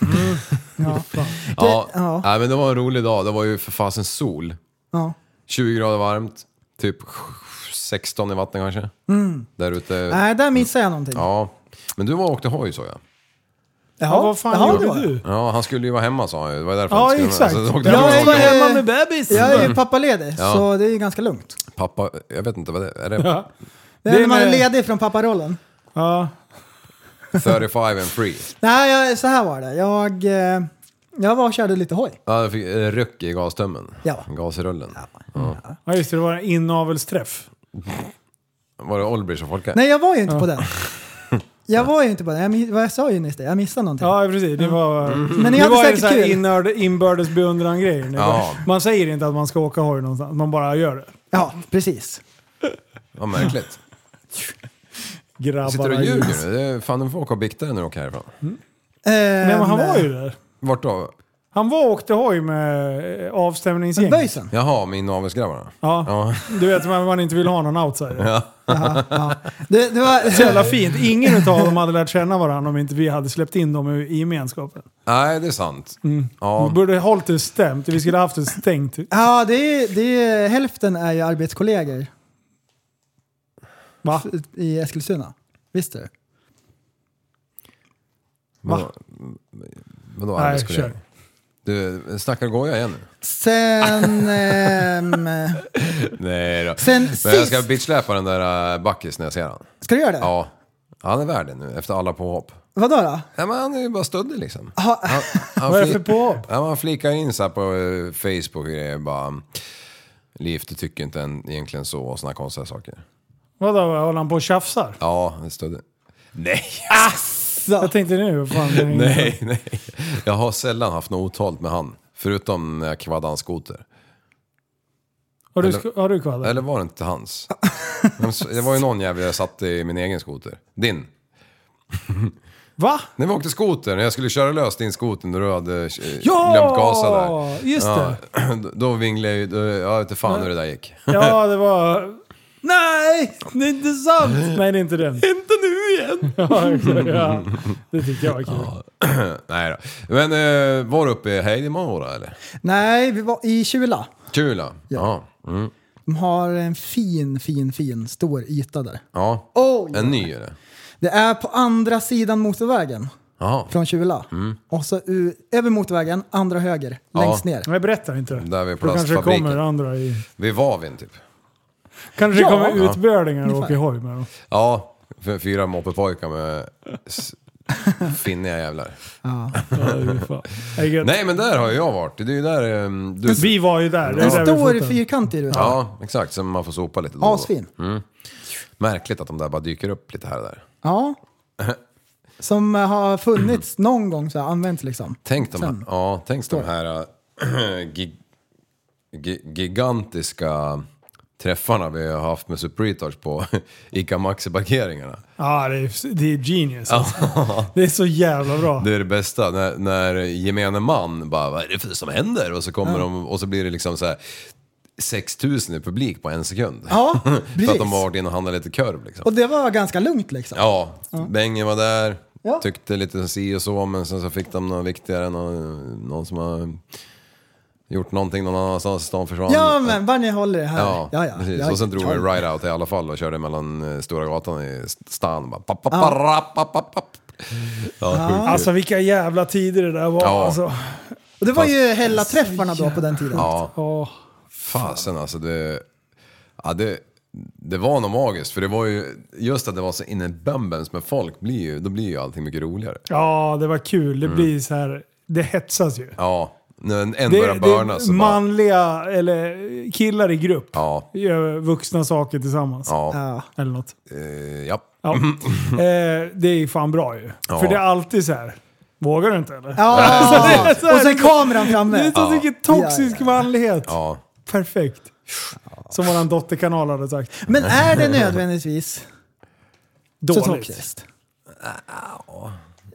B: Mm.
D: ja,
C: ja.
D: Nej, men det var en rolig dag. Det var ju för fasen sol.
C: Ja.
D: 20 grader varmt, typ 16 i vattnet kanske.
C: Mm.
D: Där ute.
C: Nej, där missade jag någonting.
D: Ja. Men du var och åkte hoj såg jag.
B: Ja, vad fan
C: jaha, det var
B: gjorde
C: jag.
B: du?
D: Ja, han skulle ju vara hemma sa han ju. Det var därför
B: Ja,
D: han inte
B: exakt.
D: Så åkte
B: Ja,
D: han
B: jag
D: tillbaka.
B: var hemma med bebis.
C: Jag är ju pappaledig,
D: Ja.
C: så det är ju ganska lugnt.
D: Pappa, jag vet inte vad det är. Är det
B: Ja.
C: Det är
B: Det
C: när man är
B: med-
C: ledig från papparollen.
B: Ja.
D: 35 and free?
C: Nej, jag, så här var det. Jag, eh, jag var och körde lite hoj.
D: Ja, jag fick eh, ryck i gastömmen.
C: Ja.
D: Gasrullen.
B: ja, just det. Det var en inavelsträff.
D: Var det Olbrich som folkade?
C: Nej, jag var ju inte på den. Jag var ju inte på den. Jag, mi- vad jag sa ju nyss det, jag missade någonting.
B: Ja, Mm. precis. Det var,
C: Men ni
B: det
C: hade
B: var ju
C: säkert
B: så här
C: kul.
B: inörd, inbördes beundran-grejer. Det var-
D: Ja.
B: Man säger inte att man ska åka hoj någonstans, man bara gör det.
C: Ja, precis.
D: Vad märkligt. Sitter du
B: Grabbarna
D: och
B: gills.
D: ljuger nu? Det är- Fan, du får åka och bikta dig när du åker härifrån.
B: Nej,
C: Eh,
B: men eh, han var ju där.
D: Vart då?
B: Han var och åkte hoj med eh, avstämningsgäng.
C: Böjsen.
D: Jaha, med inavelsgrabbarna?
B: Ja.
D: Ja.
B: Du vet, man man inte vill ha någon outsider.
C: Jaha, ja. Det, det
B: Så jävla
C: var,
B: fint. Ingen utav dem hade lärt känna varandra om inte vi hade släppt in dem i i gemenskapen.
D: Nej, det är sant.
B: Mm.
D: Ja.
B: Vi borde hållit det stämt. Vi skulle haft det stängt.
C: ja, det är, det är, hälften är ju arbetskollegor
B: Va?
C: i Eskilstuna. Visste du?
D: Vadå? Vadå
B: Nej,
D: arbetskollega?
B: kör.
D: Du, snackar du goja igen nu?
C: Sen... ehm,
D: Nej då.
C: Sen
D: Men jag ska
C: sist-
D: bitchsläpa den där äh, Backis när jag ser han.
C: ska du göra det?
D: Ja. Han är värd det nu efter alla påhopp.
C: Vadå då?
D: Nej men han är ju bara stöddig liksom.
C: Ha-
D: Han, han,
B: Vad är det
D: fli-
B: för påhopp?
D: ja, men han flikar in så här på eh, Facebook och grejer bara. Liv, du tycker inte en, egentligen så och såna konstiga saker.
B: Vadå, håller han på och tjafsar?
D: Ja, han är stöddig. Nej,
B: Jag tänkte nu, vad fan. är det?
D: nej, nej. Jag har sällan haft något otalt med han. Förutom när jag kvaddade hans skoter.
B: Har du,
D: Eller-
B: sk- har du kvaddar?
D: Eller var det inte hans? Men s- Det var ju någon jävel jag satt i min egen skoter. Din.
B: Va?
D: När vi åkte skoter, när jag skulle köra lös din skoter när du hade eh,
B: Ja!
D: glömt gasa där.
B: Just det.
D: Ja, då vinglade jag ju, då- jag vet inte fan hur det där gick.
B: Ja, det var... Nej, det är inte sant! Nej, det är inte den. Inte nu igen! Ja, exakt, ja. Det tyckte jag var kul.
D: Nej då. Men eh, var du uppe i Heidemora eller?
C: Nej, vi var i Kjula.
D: Kula? Ja. Ja. Mm.
C: De har en fin, fin, fin stor yta där.
D: ja.
C: Oh,
D: En ny eller?
C: Det är på andra sidan motorvägen
D: Jaha.
C: från Kjula.
D: Mm.
C: Och så u- över motorvägen, andra höger, längst ner.
B: Nej, berätta inte det.
D: Där vid
B: Då kanske det
D: plastfabriken.
B: kommer andra i...
D: Vid Vavin typ.
B: Kanske det
C: Ja.
B: kommer utbölingar och
C: Ungefär.
B: åker hoj med dem.
D: Ja, för fyra moppepojkar med s- finniga jävlar.
B: Ja, det är fan. Det är gött.
D: Nej men där har ju jag varit. Det är ju där ehm, du...
B: Vi var ju där. Det är
C: En
B: där vi
C: stor
B: fotar.
C: fyrkantig ruta.
D: Ja, exakt. Som man får sopa lite då och då.
C: Asfin.
D: Märkligt att de där bara dyker upp lite här och där.
C: Ja. Som eh, har funnits någon gång, så har använts liksom.
D: Tänk de,
C: Sen.
D: ja, tänk de här äh, gig, gi- gigantiska träffarna vi har haft med Supretards på ICA Maxi-parkeringarna.
B: Ja, det är, det är genius. Alltså. Det är så jävla bra.
D: Det är det bästa, när, när gemene man bara vad är det för som händer? Och så kommer de och så blir det liksom så här 6000 i publik på en sekund.
C: Ja,
D: för att
C: precis.
D: de har varit inne och handlat lite korv liksom.
C: Och det var ganska lugnt liksom.
D: Ja, Bengen var där,
C: Ja.
D: tyckte lite si och så, men sen så fick de något viktigare, någon, någon som har gjort någonting någon annanstans, stan försvann.
C: Ja, men bara ni håller det här.
D: Ja, precis.
C: Jag-
D: och sen drog vi
C: ja.
D: ride out i alla fall och körde mellan eh, Stora gatan i stan. Bara, papp, papp, papp, papp, papp, papp. Ja, sjukt.
B: Alltså vilka jävla tider det där var.
D: Ja.
B: Alltså.
C: Och det var ju hela träffarna då på den tiden.
D: ja,
B: Ja.
D: fasen alltså. Det, ja, det, det var nog magiskt, för det var ju just att det var så inne i bömbens med folk, blir ju, då blir ju allting mycket roligare.
B: ja, det var kul.
D: Mm.
B: Det blir så här, det hetsas ju.
D: Ja, när en, en
B: Det,
D: börjar börna
B: det
D: så bara...
B: manliga, eller killar i grupp,
D: Ja,
B: gör vuxna saker tillsammans.
D: ja.
C: Ja.
B: Eller något.
D: Eh, ja.
B: Ja. eh, det är ju fan bra ju.
D: Ja.
B: För det är alltid så här. vågar du inte eller?
C: Ja.
B: så här-
C: och sen kameran framme.
B: Det är så mycket toxisk manlighet.
D: ja.
B: Perfekt. Som våran dotterkanal hade sagt.
C: Men är det nödvändigtvis så
B: Dåligt.
C: toxiskt?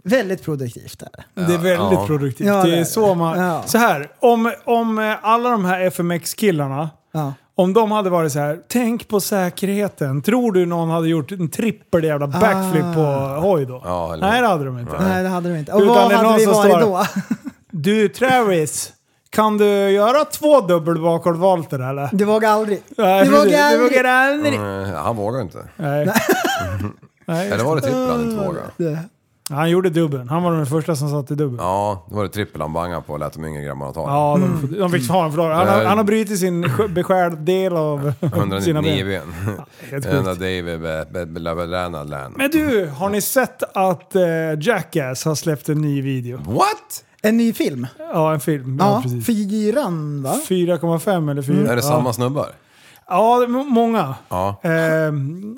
C: Väldigt produktivt är det.
B: Det är väldigt
D: Ja.
B: produktivt.
C: Ja,
B: det
C: det
B: är
C: är
B: så man...
C: Ja.
B: Så här, om, om eh, alla de här FMX-killarna,
C: Ja.
B: om de hade varit så här, tänk på säkerheten. Tror du någon hade gjort en trippel jävla backflip på hoj då?
D: Ja, eller-
B: Nej, det hade de inte.
C: Nej, det hade de inte. Och
B: Utan
C: vad
B: det är någon
C: hade vi
B: som
C: varit
B: står-
C: då?
B: Du Travis, kan du göra två dubbel bakåtvolter eller?
C: Du vågar aldrig.
B: Nej,
C: du
B: precis.
C: vågar
B: Du
C: aldrig.
B: vågar aldrig.
D: Eh, han vågar inte.
B: Nej. Nej.
D: Eller var det trippel han inte vågade?
C: Det-
B: Han gjorde dubbeln. Han var den första som satte dubbeln. Ja,
D: Ja, då var det trippel han bangade på och lät de yngre grabbarna ta.
B: de, de fick ta en förlorare. Han, har- han har brutit sin sk- beskärda del av sina ben.
D: 199 ben.
B: Helt
D: Den där
B: sjukt.
D: David Be- Be- Be- Be- Lana Lan.
B: Men du, har ni sett att eh, Jackass har släppt en ny video?
D: What?
C: En ny film?
B: Ja, en film. Ja,
C: Ja,
B: precis.
C: fyran va?
B: 4,5 eller 4.
D: Mm. Är det
B: ja.
D: samma snubbar?
B: Ja, det är må- många.
D: Ja.
B: Ehm,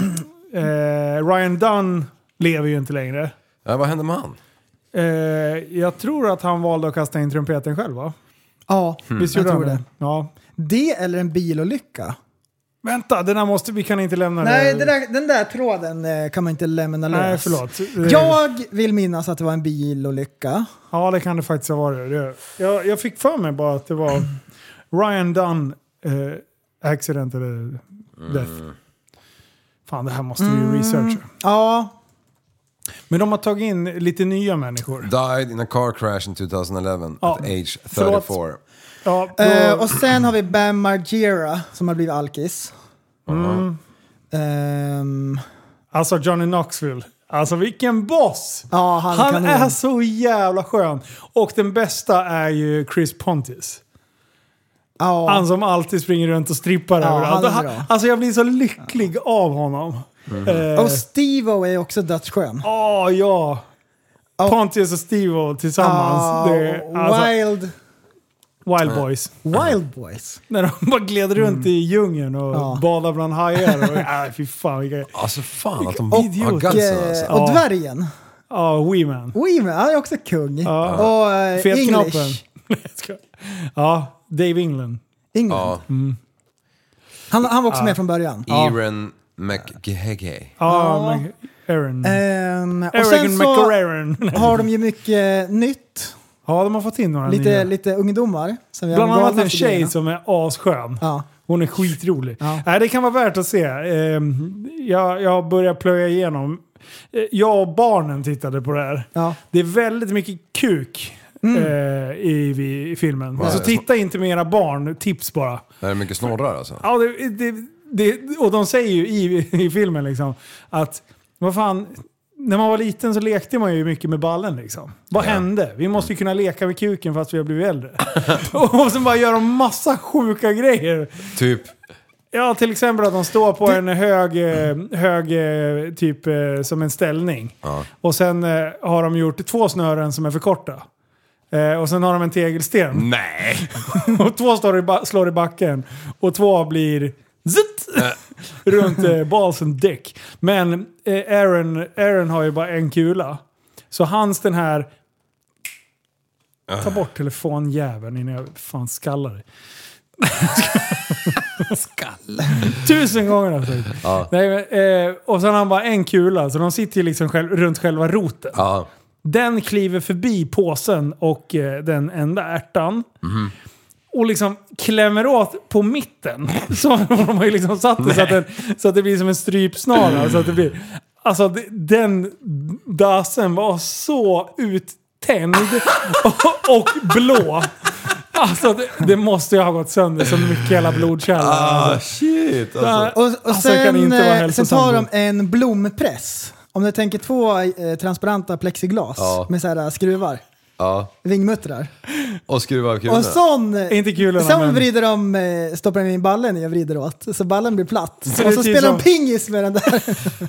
B: eh, Ryan Dunn lever ju inte längre.
D: ja. Vad hände med han?
B: Eh, jag tror att han valde att kasta in trumpeten själv va?
C: Ja,
B: Mm. Visst
C: jag
B: gjorde han
C: tror
B: det?
C: det.
B: Ja.
C: Det eller en bilolycka?
B: Vänta, den här måste, vi kan inte lämna
C: Nej, den där, den där tråden eh, kan man inte lämna lös.
B: Nej, förlåt. Eh,
C: Jag vill minnas att det var en bilolycka.
B: Ja, det kan det faktiskt ha varit. Det- Jag, jag fick för mig bara att det var Ryan Dunn eh, accident eller death. Fan, det här måste vi ju researcha.
C: Ja,
B: Men de har tagit in lite nya människor.
D: Died in a car crash in 2011
B: Ja,
D: at age 34.
B: förlåt. Ja, då,
C: eh, och sen har vi Bam Margera som har blivit alkis. Ehm,
B: Alltså Johnny Knoxville. Alltså vilken boss!
C: ja, han,
B: Han
C: kan
B: är så jävla skön. Och den bästa är ju Chris Pontis.
C: ja.
B: Han som alltid springer runt och strippar
C: Ja,
B: överallt.
C: han är
B: Han-
C: bra. Mm.
B: Alltså jag blir så lycklig av honom. Eh,
C: Och Steve-O är också dödsskön.
B: Åh ja! Pontius och Steve tillsammans.
C: Ja,
B: det, alltså, wild.
C: Ah, wild,
B: Boys.
C: wild Boys.
B: När de bara gled runt i djungeln och
C: Mm. Ja.
B: badade bland hajar. Och, äh, fy fan vilka...
D: Alltså fan att de
B: Och-
D: har gutsen
C: Eh,
D: alltså.
C: och dvärgen.
B: Ja, Weeman.
C: Weeman, han är också kung. Och eh,
B: Fetknoppen.
C: English.
B: ja, Dave England.
C: England.
D: Ja,
B: Mm.
C: Han, han var också med från början.
D: Aaron McGehege.
B: Ja, men Aaron.
C: Ehm, och sen
B: Aaron
C: så
B: McCarraren.
C: har de ju mycket nytt.
B: Ja, de har fått in några
C: Lite,
B: nya.
C: lite ungdomar. Som vi
B: Bland
C: har
B: annat
C: valt
B: en
C: efter
B: tjej
C: grejerna.
B: som är asskön.
C: Ja.
B: Hon är skitrolig.
C: Ja.
B: Nej, det kan vara värt att se. Ehm, Jag, jag börjar plöja igenom. Eh, Jag och barnen tittade på det här.
C: Ja. Mm.
B: Det är väldigt mycket kuk eh, i, i filmen. Så titta inte med era barn. Tips bara.
D: Det är mycket snorrar alltså.
B: Ja, det, det, det, och de säger ju i, i filmen liksom att vad fan, när man var liten så lekte man ju mycket med ballen liksom. Vad hände? Vi måste ju kunna leka med kuken fast vi har blivit äldre. och sen bara gör de massa sjuka grejer.
D: Typ,
B: Ja, till exempel att de står på en hög, eh, hög eh, typ eh, som en ställning. Och sen eh, har de gjort två snören som är för korta. Eh, och sen har de en tegelsten.
D: nej!
B: Och två slår i, ba- slår i backen och två blir zitt, runt eh, balsen däck. Men eh, Aaron, Aaron har ju bara en kula. Så hans den här... Ta bort telefonjäveln innan jag fan skallar dig. Tusen gånger har jag sagt. Nej, men, eh, och sen har han bara en kula, så de sitter ju liksom själv, runt själva roten.
D: Ja,
B: Den kliver förbi påsen och eh, den enda ärtan. Och liksom klämmer åt på mitten. Så de har ju liksom satt det så att, den, så att det blir som en strypsnara. Så att det blir, alltså det- den dasen var så uttänd och, och blå. Alltså det, det måste ju ha gått sönder så mycket jävla blodkärl.
D: Ah,
B: Alltså.
D: shit! Alltså.
B: Ja,
C: Och, och
B: Alltså, det kan
C: sen,
B: inte vara
C: eh, sen
B: hälsosamt.
C: tar de en blompress. Om du tänker två eh, transparenta plexiglas
D: Ja.
C: med så här eh, skruvar.
D: Ja.
C: Vingmuttrar.
D: Och skruva av kulorna.
C: Och sån... eh,
B: Inte kulorna,
C: Sen
B: men-
C: vrider de, eh, stoppar de in ballen i och vrider åt. Så ballen blir platt.
B: det
C: och så
B: är typ
C: spelar
B: som-
C: de pingis med den där.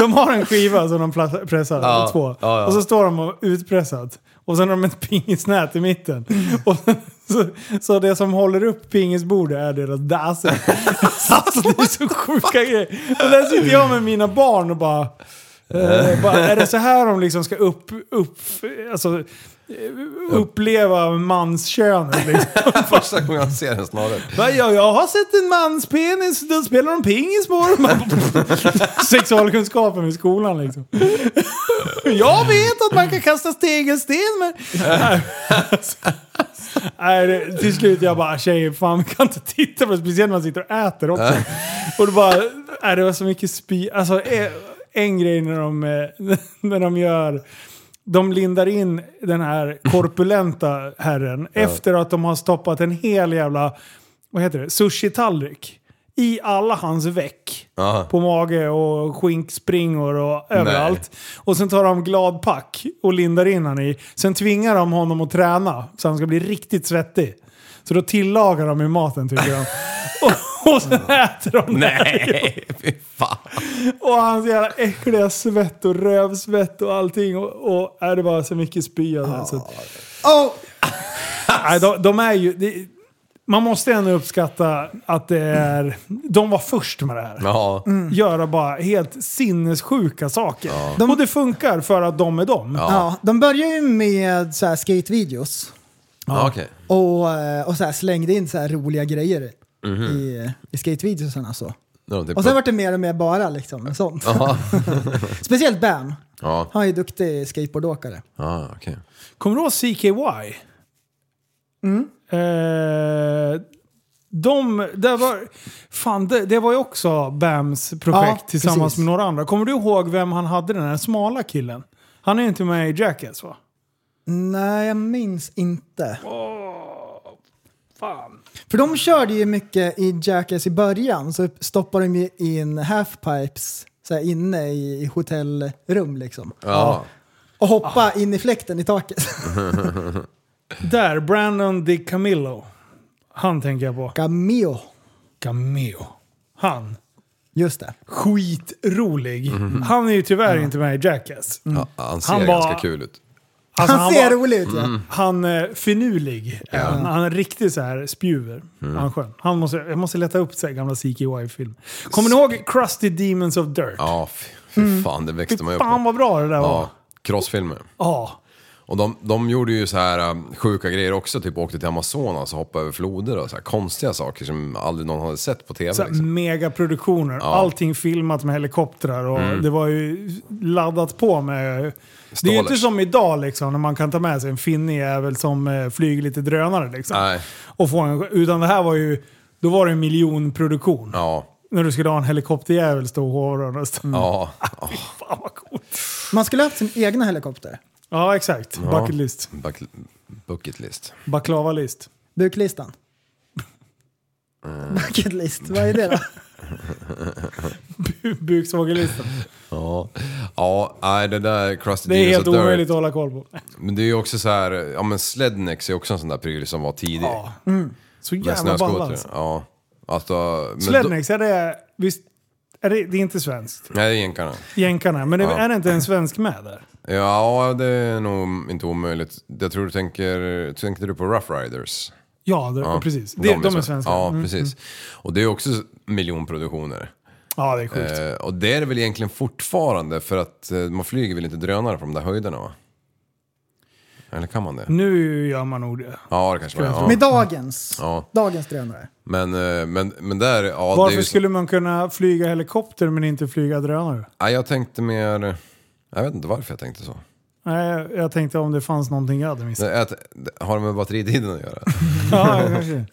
B: De har en skiva som de pla- pressar,
D: Ja,
B: två.
D: ja, ja.
B: Och så står de och utpressat. Och sen har de ett pingisnät i mitten. Och så, så det som håller upp pingisbordet är deras daser. alltså det är så sjuka grejer. Och där sitter jag med mina barn och bara... Eh, bara är det så här de liksom ska upp, upp, alltså, eh, uppleva manskönet? Liksom?
D: Första gången jag ser en snarare.
B: Va, ja, jag har sett en mans penis, då spelar de pingis på den. Sexualkunskapen i skolan liksom. jag vet att man kan kasta tegelsten men... Nej, det, till slut jag bara tjejer, fan vi kan inte titta på det. Speciellt när man sitter och äter också. och det bara, nej, det var så mycket spy. Alltså eh, en grej när de, eh, när de gör... De lindar in den här korpulenta herren efter att de har stoppat en hel jävla, vad heter det, sushi-tallrik i alla hans veck.
D: Aha.
B: På mage och skinkspringor och överallt. Och sen tar de glad pack och lindar in han i. Sen tvingar de honom att träna så han ska bli riktigt svettig. Så då tillagar de i maten tycker de. Och, och sen äter de det.
D: Nej, fy fan.
B: Och hans jävla äckliga svett och rövsvett och allting. Och, och är det bara så mycket spy av det här, så att,
C: Oh,
B: nej, de, de är ju... Det, man måste ändå uppskatta att det är... De var först med det här.
D: Ja.
B: Göra bara helt sinnessjuka saker.
C: De-
B: Och det funkar för att de är de.
C: ja. de börjar ju med så här skatevideos
D: Ja, okej.
C: och, eh, och så här slängde in så här roliga grejer
D: Mhm.
C: i, eh, i skatevideosarna. Så.
D: Ja, det är typ
C: Och sen
D: bra.
C: vart det mer och mer bara liksom, sånt. Speciellt Bam.
D: Ja,
C: Han är ju duktig skateboardåkare.
D: ja okej.
B: Kommer du ihåg CKY?
C: Mm.
B: Eh, de, det, var, fan, det, det var ju också Bams projekt
C: Ja,
B: tillsammans
C: precis.
B: med några andra. Kommer du ihåg vem han hade, den här smala killen? Han är ju inte med i Jackass va?
C: Nej, jag minns inte. För de körde ju mycket i Jackass i början, så stoppade de ju in halfpipes så här inne i i hotellrum liksom.
D: Ja.
C: Och hoppa in i fläkten i taket.
B: Där, Brandon Di Camillo. Han tänker jag på.
C: Cameo.
B: Cameo. Han.
C: Just det.
B: Skitrolig. Han är ju tyvärr inte med i Jackass.
D: Mm. Ja, han ser
B: Han bara-
D: ganska kul ut.
B: Alltså,
C: han, ser
B: var-
C: rolig ut ja.
D: Mm.
B: Han är finurlig. Han, han är riktigt så här spjuver.
D: Mm.
B: Han är skön. Han måste, jag måste leta upp så här gamla CKY-film. Kommer ni ihåg Crusty Demons of Dirt?
D: Ja, fy, fy fan, det växte man ju upp
B: Mm. Fan
D: på.
B: vad bra det där var.
D: Ja, crossfilmer.
B: Ja.
D: Och de, de gjorde ju så här um, sjuka grejer också, typ åkte till Amazonas och hoppade över floder och så här konstiga saker som aldrig någon hade sett på tv.
B: Så här,
D: Liksom.
B: megaproduktioner. Allting filmat med helikoptrar och
D: Mm.
B: det var ju laddat på med... Det är ju inte
D: Stålers.
B: som idag liksom, när man kan ta med sig en finnig jävel som eh, flyger lite drönare. Liksom,
D: Nej.
B: och få en, utan det här var ju... Då var det en miljonproduktion.
D: Ja,
B: När du skulle ha en helikopterjävel stå och hovra. Ja.
D: ja, ja.
B: Fan vad coolt.
C: Man skulle haft sin egna helikopter.
B: Ja, exakt. Bucket list.
D: Buck, bucket list.
B: Baklava list.
C: Buklistan. Bucket list, vad är det då?
B: Buksvågelistan.
D: Ja, ja nej, det där Crusty
B: Det är
D: Demons
B: helt
D: of Dirt.
B: omöjligt att hålla koll på.
D: Men det är ju också så här, ja men Slednex är också en sån där pryl som var tidig.
B: Ja. Så
D: Med
B: jävla balla
D: snöskoter.
B: alltså.
D: Ja. Alltså, men
B: Slednex, är det... Visst, är det, det är inte svenskt.
D: Då, nej, det är jänkarna.
B: Jänkarna. Men det,
D: Ja.
B: är det inte en svensk med där?
D: Ja, det är nog inte omöjligt. Jag tror du tänker, tänkte du på Rough Riders?
B: Ja, det,
D: Ja,
B: precis. Det, de, är
D: sven-
B: svenska.
D: Ja,
B: Mm.
D: precis. Och det är också miljonproduktioner.
B: ja det är sjukt.
D: Eh, och det är det väl egentligen fortfarande för att eh, man flyger väl inte drönare från de där höjderna va? Eller kan man det?
B: Mm. Nu gör man nog det.
D: Ja, det kanske man ja.
C: Med dagens,
D: Ja.
C: dagens drönare.
D: Men, eh, men, men där, ja det är
B: Varför
D: ju så-
B: skulle man kunna flyga helikopter men inte flyga drönare?
D: Nej, jag tänkte mer... Jag vet inte varför jag tänkte så.
B: Nej, jag- jag tänkte om det fanns någonting jag hade missat.
D: Det- Att, det- har det med batteritiden att göra?
B: Ja, kanske.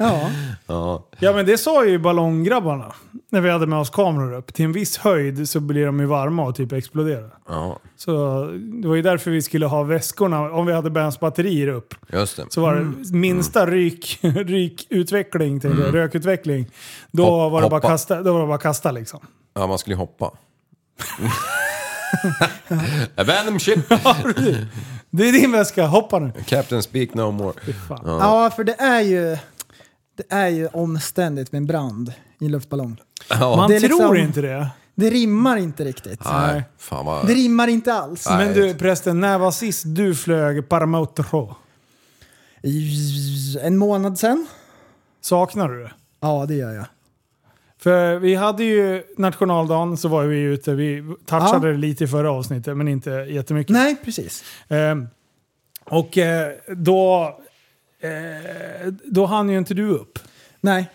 C: Ja.
B: Ja men det sa ju ballonggrabbarna. När vi hade med oss kameror upp. Till en viss höjd så blir de ju varma och typ exploderar.
D: Ja,
B: Så det var ju därför vi skulle ha väskorna. Om vi hade Bens batterier upp
D: just det.
B: så var det minsta ryk, rykutveckling, tänkte jag, rökutveckling. Då,
D: Hopp-
B: var det bara
D: hoppa.
B: kasta, då var det bara kasta liksom.
D: Ja, man skulle ju hoppa. Abandon ship!
B: Det är din väska, hoppa nu!
D: Captain speak no more.
B: Fan.
C: ja, för det är ju... Det är ju omständigt med en brand i en luftballong.
B: Man
C: Det är
B: tror
C: liksom-
B: inte det.
C: Det rimmar inte riktigt.
D: Nej, fan vad...
C: Det rimmar inte alls.
D: Nej.
B: Men du förresten, när var sist du flög Paramoutro?
C: I- En månad sen?
B: Saknar du det?
C: Ja, det gör jag.
B: För vi hade ju nationaldagen så var vi ute. Vi touchade det lite i förra avsnittet men inte jättemycket.
C: Nej, precis.
B: Ehm, och eh, då, eh, då hann ju inte du upp.
C: Nej.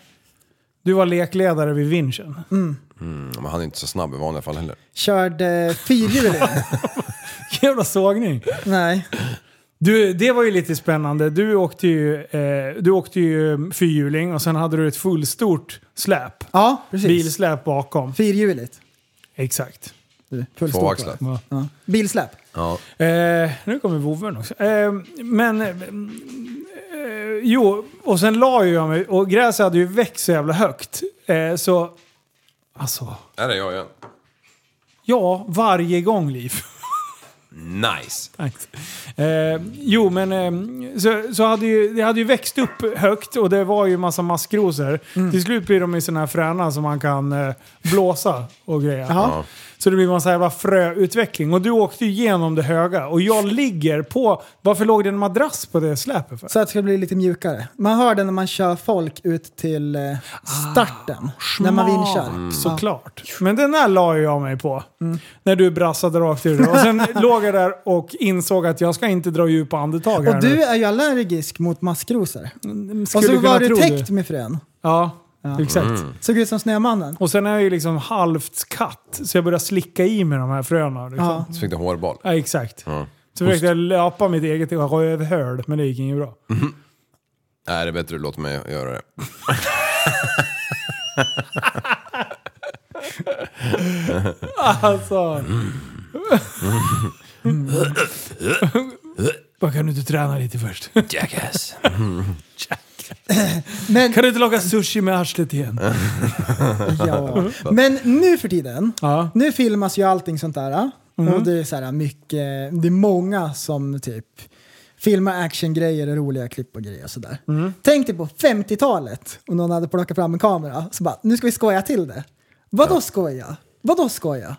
B: Du var lekledare vid vinschen.
D: Men han är inte så snabb i vanliga fall heller.
C: Körde fyrhjuling.
B: Jävla sågning.
C: Nej.
B: Du, det var ju lite spännande. Du åkte ju, eh, du åkte ju fyrhjuling och sen hade du ett fullstort släp.
C: Ja, precis.
B: Bilsläp bakom.
C: Fyrhjuligt.
B: Exakt.
C: Du, full stort var det.
D: Tvåaxlat.
B: Ja.
C: Ja. Bilsläp.
D: Ja.
B: Eh, nu kommer vovven också. Eh, men eh, Ehm, eh, jo, och sen la ju jag mig och gräset hade ju växt så jävla högt. Eh, så, alltså,
D: Här är jag igen.
B: ja, varje gång liv.
D: Nice.
B: Tack. Eh, jo, men eh, så, så hade ju, det hade ju växt upp högt och det var ju massa maskrosor.
C: Mm.
B: Till slut blir de ju sådana här fräna som man kan eh, blåsa och grejer.
C: Ja.
B: Så det blir massa jävla fröutveckling. Och du åkte ju igenom det höga och jag ligger på... Varför låg det en madrass på det släpet för?
C: Så att det ska bli lite mjukare. Man hör det när man kör folk ut till eh,
B: Ah,
C: starten. när man vinschar. Mm.
B: Såklart. Men den där la jag mig på. När du brassade rakt ur. Och sen låg jag där och insåg att jag ska inte dra djupa andetag här
C: Och
B: nu.
C: du är ju allergisk mot maskrosor. Och
B: Skulle
C: så
B: kunna
C: var du
B: tro
C: täckt med frön.
B: Ja, exakt.
C: Såg ut som Snömannen.
B: Och sen är jag ju liksom halvt katt, så jag börjar slicka i mig de här fröna. Liksom. Ja.
C: Ja.
D: Så fick du hårboll.
B: exakt. Så försökte jag löpa mitt eget rövhål, men det gick inget bra.
D: Nej, det är bättre att låta mig göra det.
B: Alltså... Bara kan du inte träna lite först?
D: Jackass.
C: Men,
B: Kan du inte laga sushi med arslet igen?
C: ja. Men nu för tiden,
B: Ja. Mm.
C: nu filmas ju allting sånt där. Och det är så här mycket, det är många som typ filmar actiongrejer och roliga klipp och grejer och sådär.
B: Mm.
C: Tänk dig på 50-talet om någon hade plockat fram en kamera så bara, nu ska vi skoja till det. Vadå skoja? Vadå skoja?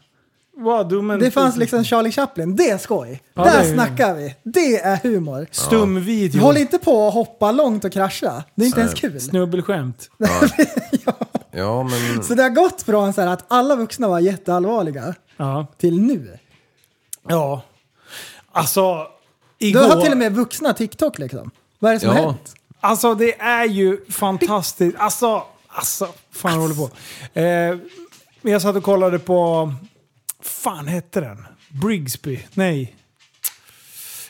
B: Vad dum en-
C: Det fanns liksom Charlie Chaplin, det är skoj.
B: Ja,
C: Där
B: det är ju-
C: snackar vi, det är humor.
B: Stum video.
C: Håll inte på att hoppa långt och krascha, det är inte ens kul.
B: Snubbelskämt.
D: Ja, men...
C: Så det har gått från så här att alla vuxna var jätteallvarliga
B: Ja.
C: till nu.
B: ja. Alltså,
C: Du
B: igår...
C: har till och med vuxna TikTok liksom. Vad är det som har
D: Ja.
C: hänt?
B: Alltså det är ju fantastiskt. Alltså, alltså, fan jag håller på. Eh, men jag satt och kollade på, fan hette den? Brigsby? Nej.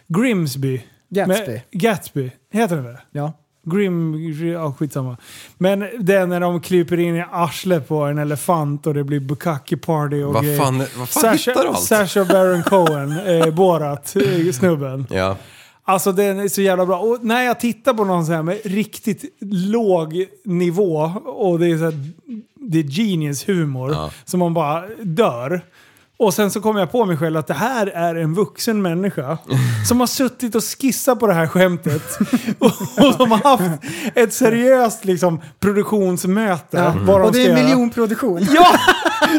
B: Grimsby?
C: Gatsby.
B: Men- Gatsby, heter den väl?
C: Ja.
B: Grim, ja skitsamma. Men det är när de kryper in i arslet på en elefant och det blir bukkake party och
D: Vad
B: grejer.
D: fan- vad fan
B: Sacha-
D: hittar du allt?
B: Sacha Baron Cohen, eh, Borat, eh, snubben.
D: Ja.
B: Alltså den är så jävla bra. Och när jag tittar på någon så här med riktigt låg nivå och det är så här, det är genius humor som man bara dör. Och sen så kom jag på mig själv att det här är en vuxen människa som har suttit och skissat på det här skämtet. och, och de har haft ett seriöst liksom, produktionsmöte. Vad de
C: Mm. Och
B: ska
C: det är
B: göra.
C: en miljonproduktion.
B: Ja!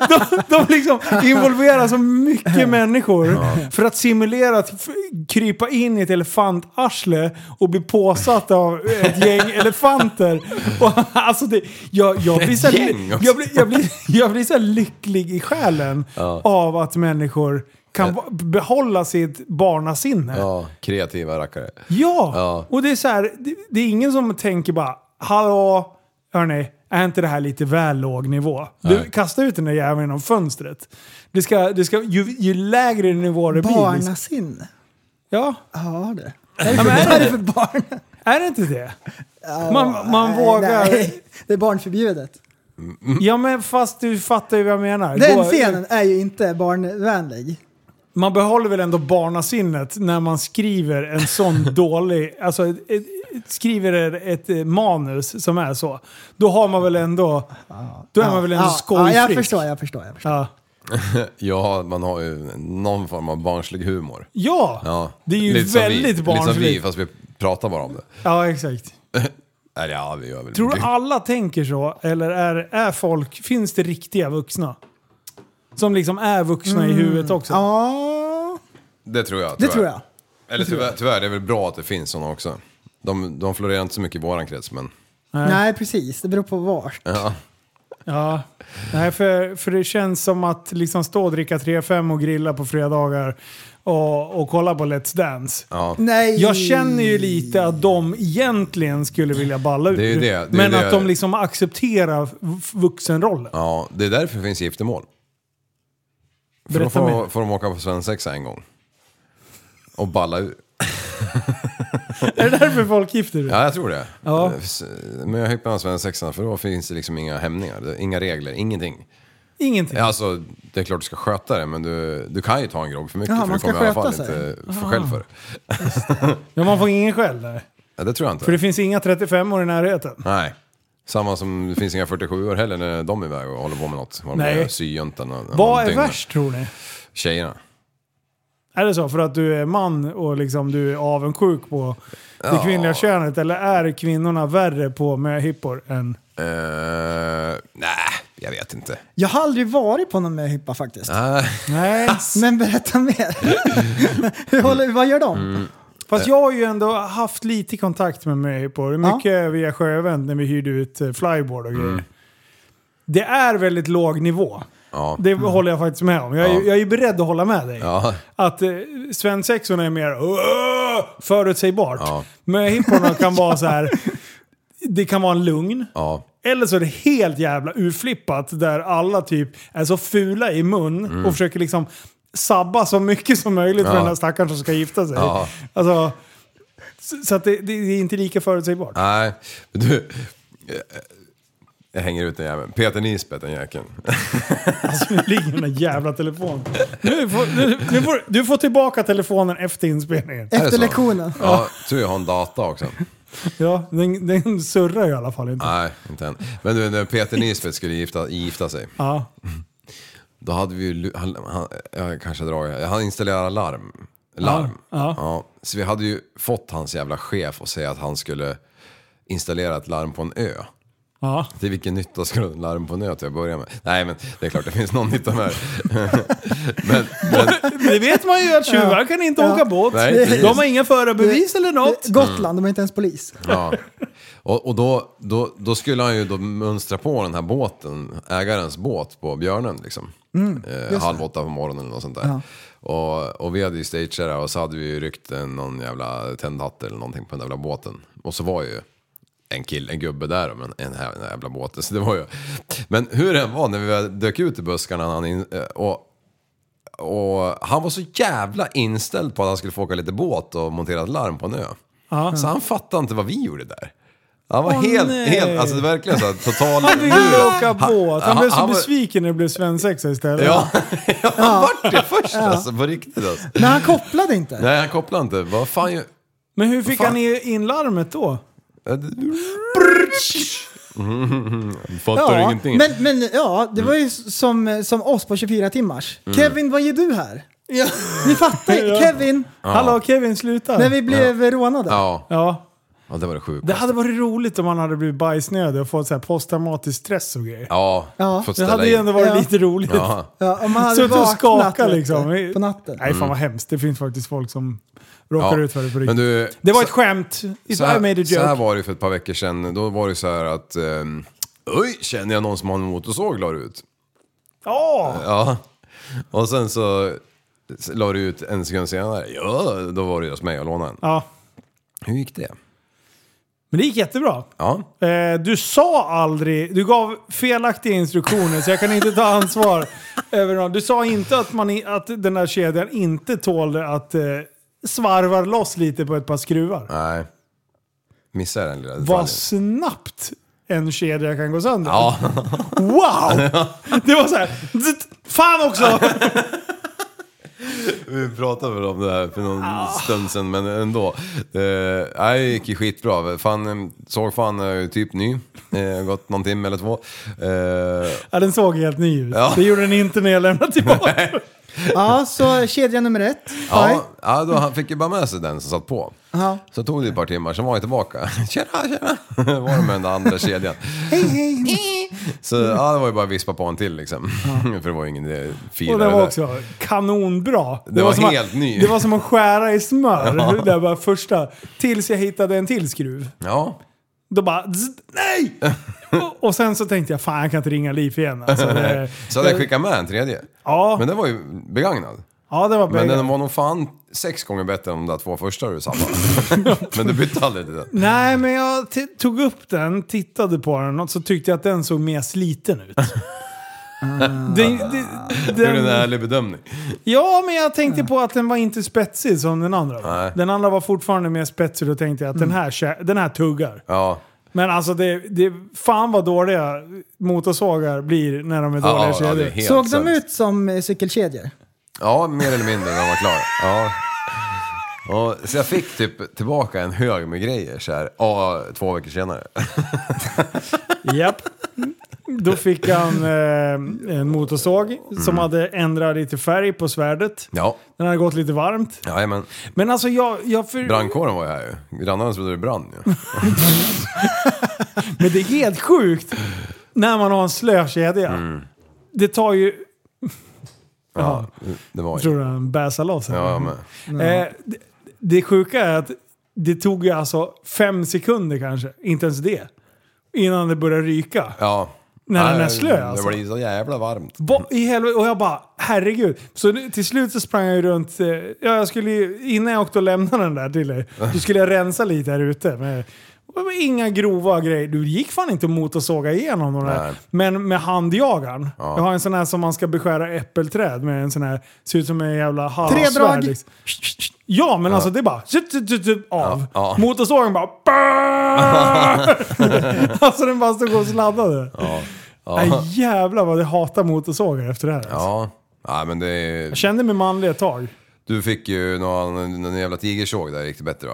B: De, de liksom involverar så mycket människor för att simulera att f- krypa in i ett elefantarsle och bli påsatt av ett gäng elefanter. Och, alltså det, jag, jag blir så, här-
D: gäng också.
B: jag blir, jag blir, jag blir så här lycklig i själen av att människor kan va- behålla sitt barnasinne.
D: ja, kreativa rackare.
B: Ja,
D: Ja.
B: och det är så här, det, det är ingen som tänker bara hallå, hörni, är inte det här lite väl låg nivå? Du,
D: Nej.
B: kasta ut den där jäveln genom fönstret. Det ska, det ska, ju, ju lägre nivå det blir. liksom-
C: Barnasinne.
B: Ja,
C: Ja, det.
B: men
C: Vad är
B: är,
C: det
B: det,
C: för barn?
B: är det inte det? Man, man
C: Nej,
B: vågar...
C: nej. Det är barnförbjudet.
B: Ja men fast du fattar ju vad jag menar. Gå-
C: Den scenen är ju inte barnvänlig.
B: Man behåller väl ändå barnasinnet när man skriver en sån dålig... Alltså ett, ett, ett, skriver ett, ett manus som är så. Då har man väl ändå... Då är man väl ändå
C: ja, ja,
B: skojfrisk.
C: jag förstår, jag förstår. Jag förstår.
B: Ja.
D: Ja, man har ju någon form av barnslig humor.
B: Ja,
D: Ja.
B: det är ju
D: Lite som vi,
B: väldigt
D: Lite som vi,
B: barnsligt.
D: fast vi pratar bara om det.
B: Ja, exakt.
D: Eller ja, vi gör väl
B: Tror du
D: det.
B: alla tänker så? Eller är, är folk... Finns det riktiga vuxna? Som liksom är vuxna
C: Mm.
B: i huvudet också?
C: Ja,
D: Det tror jag.
C: det
D: tyvärr.
C: tror jag.
D: Eller tyvärr, tyvärr, det är väl bra att det finns sådana också. De, de florerar inte så mycket i våran krets, men...
C: Nej, precis. Det beror på vart.
B: Ja, nej, för, för det känns som att liksom stå och dricka 3-5 och grilla på fredagar och, och kolla på Let's Dance.
D: Ja.
C: Nej.
B: Jag känner ju lite att de egentligen skulle vilja balla ur.
D: Det är ju det, det är
B: men
D: det.
B: att de liksom accepterar v- vuxenrollen.
D: Ja, det är därför det finns giftermål. För då
B: Berätta
D: får,
B: mer.
D: får de åka på svensexa en gång. Och balla ur.
B: Är det därför folk gifter sig?
D: Ja, jag tror det.
B: Ja.
D: S- Men jag hypar med svensexan för då finns det liksom inga hämningar, det- inga regler, ingenting.
B: Ingenting.
D: Ja, Alltså, det är klart du ska sköta det, men du, du kan ju ta en grogg för mycket
C: Jaha,
D: för
C: man
D: du
C: ska
D: kommer i alla fall
C: sköta sig.
D: inte få skäll för det.
B: Ja, man får ingen skäll där.
D: Ja, det tror jag inte.
B: För det finns inga 35 år i närheten.
D: Nej. Samma som det finns inga 47 år heller när de är iväg och håller på med något. Vad de
B: Nej.
D: gör, Syjuntan och
B: Vad är
D: någonting.
B: värst tror ni?
D: Tjejerna.
B: Är det så för att du är man och liksom du är avundsjuk på det kvinnliga könet? Eller är kvinnorna värre på möhippor än...
D: Eh, nej, jag vet inte.
C: Jag har aldrig varit på någon med hippa faktiskt.
D: Eh,
B: Nej.
C: Men berätta mer. Hur håller, vad gör de?
B: Fast jag har ju ändå haft lite kontakt med möhippor. Mycket via Sjövänt när vi hyrde ut eh, flyboard och grejer.
D: Mm.
B: Det är väldigt låg nivå.
D: ja.
B: Det håller jag faktiskt med om. Jag är,
D: Ja.
B: jag är beredd att hålla med dig.
D: Ja.
B: Att eh, svensexorna är mer "Åh!" förutsägbart.
D: Ja.
B: Möhipporna kan vara så här. Det kan vara en lugn.
D: ja.
B: Eller så är det helt jävla urflippat där alla typ är så fula i mun och försöker liksom sabba så mycket som möjligt för
D: Mm. Ja.
B: den här stackaren som ska gifta sig.
D: Ja.
B: Alltså, så, så att det, det är inte lika förutsägbart.
D: Nej, men du. eh, Jag hänger ut den jäveln. Peter Nisbet, den jäkeln.
B: Alltså, nu ligger den där jävla telefonen. Nu får, nu, nu får, du får tillbaka telefonen efter inspelningen.
D: Är det
C: Efter
D: så?
C: lektionen.
D: Alltså, Ja, tur jag har en data också.
B: Ja, den, den surrar i alla fall inte.
D: Nej, inte än. Men du, när Peter Nisbet skulle gifta, gifta sig.
B: Ja.
D: Då hade vi ju... lu- Han, han, jag kanske drar jag. Han installerade larm. Larm.
B: Ja, ja.
D: Så vi hade ju fått hans jävla chef att säga att han skulle installera ett larm på en ö.
B: ja.
D: Till vilken nytta skulle ett larm på en ö till att börja med? Nej men det är klart det finns någon nytta med det. men, men,
B: Det vet man ju att tjuvar kan inte
C: Ja.
B: åka båt.
D: Nej, precis.
B: De har inga förarbevis eller något.
C: Eh, Gotland, de har inte ens polis.
D: Ja. Och, och då, då, då skulle han ju då mönstra på den här båten, ägarens båt på Björnen liksom. eh, halv åtta på morgonen eller något sånt där. Och, och vi hade ju stageat det här och så hade vi ju ryckt en, någon jävla tändhatt eller någonting på den jävla båten. Och så var ju en kille, en gubbe där men en här den här jävla båten. Så det var ju... Men hur den var när vi väl dök ut i buskarna han in, eh, och och han var så jävla inställd på att han skulle få åka lite båt och montera ett larm på en ö. Så han fattade inte vad vi gjorde där. Han var
B: Åh,
D: helt,
B: nej.
D: helt, alltså verkligen såhär total...
B: Han ville åka båt. Han
D: han-
B: blev så
D: han var-
B: besviken när det blev svensexa istället.
D: Ja, han vart det först alltså, på riktigt alltså.
C: Men han kopplade inte.
D: Nej, han kopplade inte. Vad fan ju...
B: Men hur fick
D: Fan.
B: han i- in larmet då?
D: Fattar
C: Ja,
D: ingenting. Mm.
C: men, men ja, det var ju som, som oss på 24 timmars. Kevin, vad gör du här? Ni fattar ju.
B: Ja.
C: Kevin,
B: Hallå Kevin, sluta.
C: när vi blev rånade.
D: Ja,
B: Ja.
D: ja, det var det sjukt.
B: Det hade varit roligt om han hade blivit bajsnödig och fått så här posttraumatisk stress och grejer.
D: Ja,
C: Ja.
D: fått
B: Det
D: ställa
B: hade ju
D: in.
B: ändå varit
C: Ja.
B: lite roligt.
D: Ja.
C: Ja, om man hade
B: Suttit och
C: vaknat,
B: skaka
C: vet du,
B: liksom.
C: På natten.
B: Nej fan vad hemskt. Det finns faktiskt folk som råkar
D: Mm. Ja.
B: ut för det på
D: Men
B: riktigt.
D: du,
B: Det var
D: så-
B: ett skämt. If
D: Så här,
B: I made a
D: så här
B: joke.
D: var det för ett par veckor sedan. Då var det så här att... ehm, Oj, känner jag någon som har en motorsåg la du ut.
B: Ja!
D: Ja. Och sen så la du ut en sekund senare. Ja, då var det just mig jag lånade den.
B: ja.
D: Hur gick det?
B: Men det gick jättebra.
D: Ja.
B: Eh, du sa aldrig, du gav felaktiga instruktioner så jag kan inte ta ansvar över dem. Du sa inte att, man, i- att den här kedjan inte tålde att eh, svarva loss lite på ett par skruvar.
D: Nej. Missade den lilla detaljen.
B: Vad snabbt en kedja kan gå sönder.
D: Ja.
B: Wow! Det var så här, zzzt, fan också!
D: Vi pratade väl om det här för någon stund sedan, men ändå. Eh, nej, det gick ju skitbra. Fan, eh, såg fan eh, typ ny. Eh, gått någon timme eller två. Eh,
B: Ja, den såg helt ny ut.
D: Ja.
B: Det gjorde den inte när jag lämnade tillbaka.
C: Ja, så kedja nummer ett.
D: ja,
C: Ja.
D: ja då, han fick ju bara med sig den som satt på. Så tog det ett par timmar, sen var jag tillbaka. Tjena, tjena! Var det med den där andra kedjan.
C: Hej, hej.
D: Så ja, det var ju bara att vispa på en till liksom. För det var ju ingen idé. Fina
B: Och den
D: det
B: var
D: där.
B: också kanonbra.
D: Det var
B: som att-
D: helt ny.
B: Det var som att skära i smör. Det där var första. Tills jag hittade en till skruv.
D: Ja.
B: Då bara zzz, nej! och, och sen så tänkte jag fan jag kan inte ringa liv igen. Alltså, det,
D: Så hade jag skickat med en tredje.
B: Ja.
D: Men den var ju begagnad.
B: ja, det var
D: Men
B: bägge.
D: den var nog fan sex gånger bättre än de där två första du samlade. Men du bytte aldrig till den.
B: Nej, men jag t- tog upp den, tittade på den och så tyckte jag att den såg mer sliten ut. Den, den,
D: Det är en
B: den,
D: ärlig bedömning.
B: ja, men jag tänkte på att den var inte spetsig som den andra var.
D: Nej. Mm.
B: Den andra var fortfarande mer spetsig och då tänkte jag att den, här, kä- den här tuggar.
D: Ja.
B: Men alltså det, det, fan vad dåliga motorsågar blir när de är
D: Ja,
B: dåliga
D: ja, det är
B: kedjor.
D: helt
C: Såg de
D: sant.
C: ut som eh, cykelkedjor?
D: Ja, mer eller mindre när de var klara. Ja. Och, så jag fick typ tillbaka en hög med grejer så här, ja, två veckor senare.
B: Japp. Då fick han eh, en motorsåg
D: Mm.
B: som hade ändrat lite färg på svärdet.
D: Ja,
B: Den hade gått lite varmt.
D: jajamän.
B: Men alltså jag... jag för...
D: Brandkåren var ju här ju. Grannarna trodde det brann ju.
B: Men det är helt sjukt när man har en slö kedja.
D: Mm.
B: Det tar ju...
D: Ja, det var ju.
B: Tror du han bäsar loss? här?
D: Ja, jag med.
B: Eh, det, det sjuka är att det tog ju alltså fem sekunder kanske, inte ens det, innan det började ryka.
D: Ja.
B: När den är
D: Nej,
B: slö, alltså.
D: Det blir så jävla varmt.
B: Vad i helvete? Och jag bara, herregud. Så nu- till slut så sprang jag ju runt. eh, Ja, jag skulle ju, innan jag åkte och lämnade den där till dig, då skulle jag rensa lite här ute. Med, och med inga grova grejer. Du gick fan inte mot att såga igenom de
D: Nej.
B: där. Men med handjagaren. Jag har en sån här som man ska beskära äppelträd med. En sån här, ser ut som en jävla halvsvärd.
C: drag.
B: liksom. Ja, men alltså det är bara tjup, tjup, tjup, tjup, av.
D: ja.
B: Motorsågen bara... brrrr. alltså den bara stod och sladdade.
D: Ja.
B: Nej,
D: Ja.
B: jävlar vad jag hatar motorsågar efter det här. alltså.
D: Ja. Nej, men det
B: Jag
D: är...
B: kände mig manlig ett tag.
D: Du fick ju någon, någon jävla tigersåg där, gick det bättre va?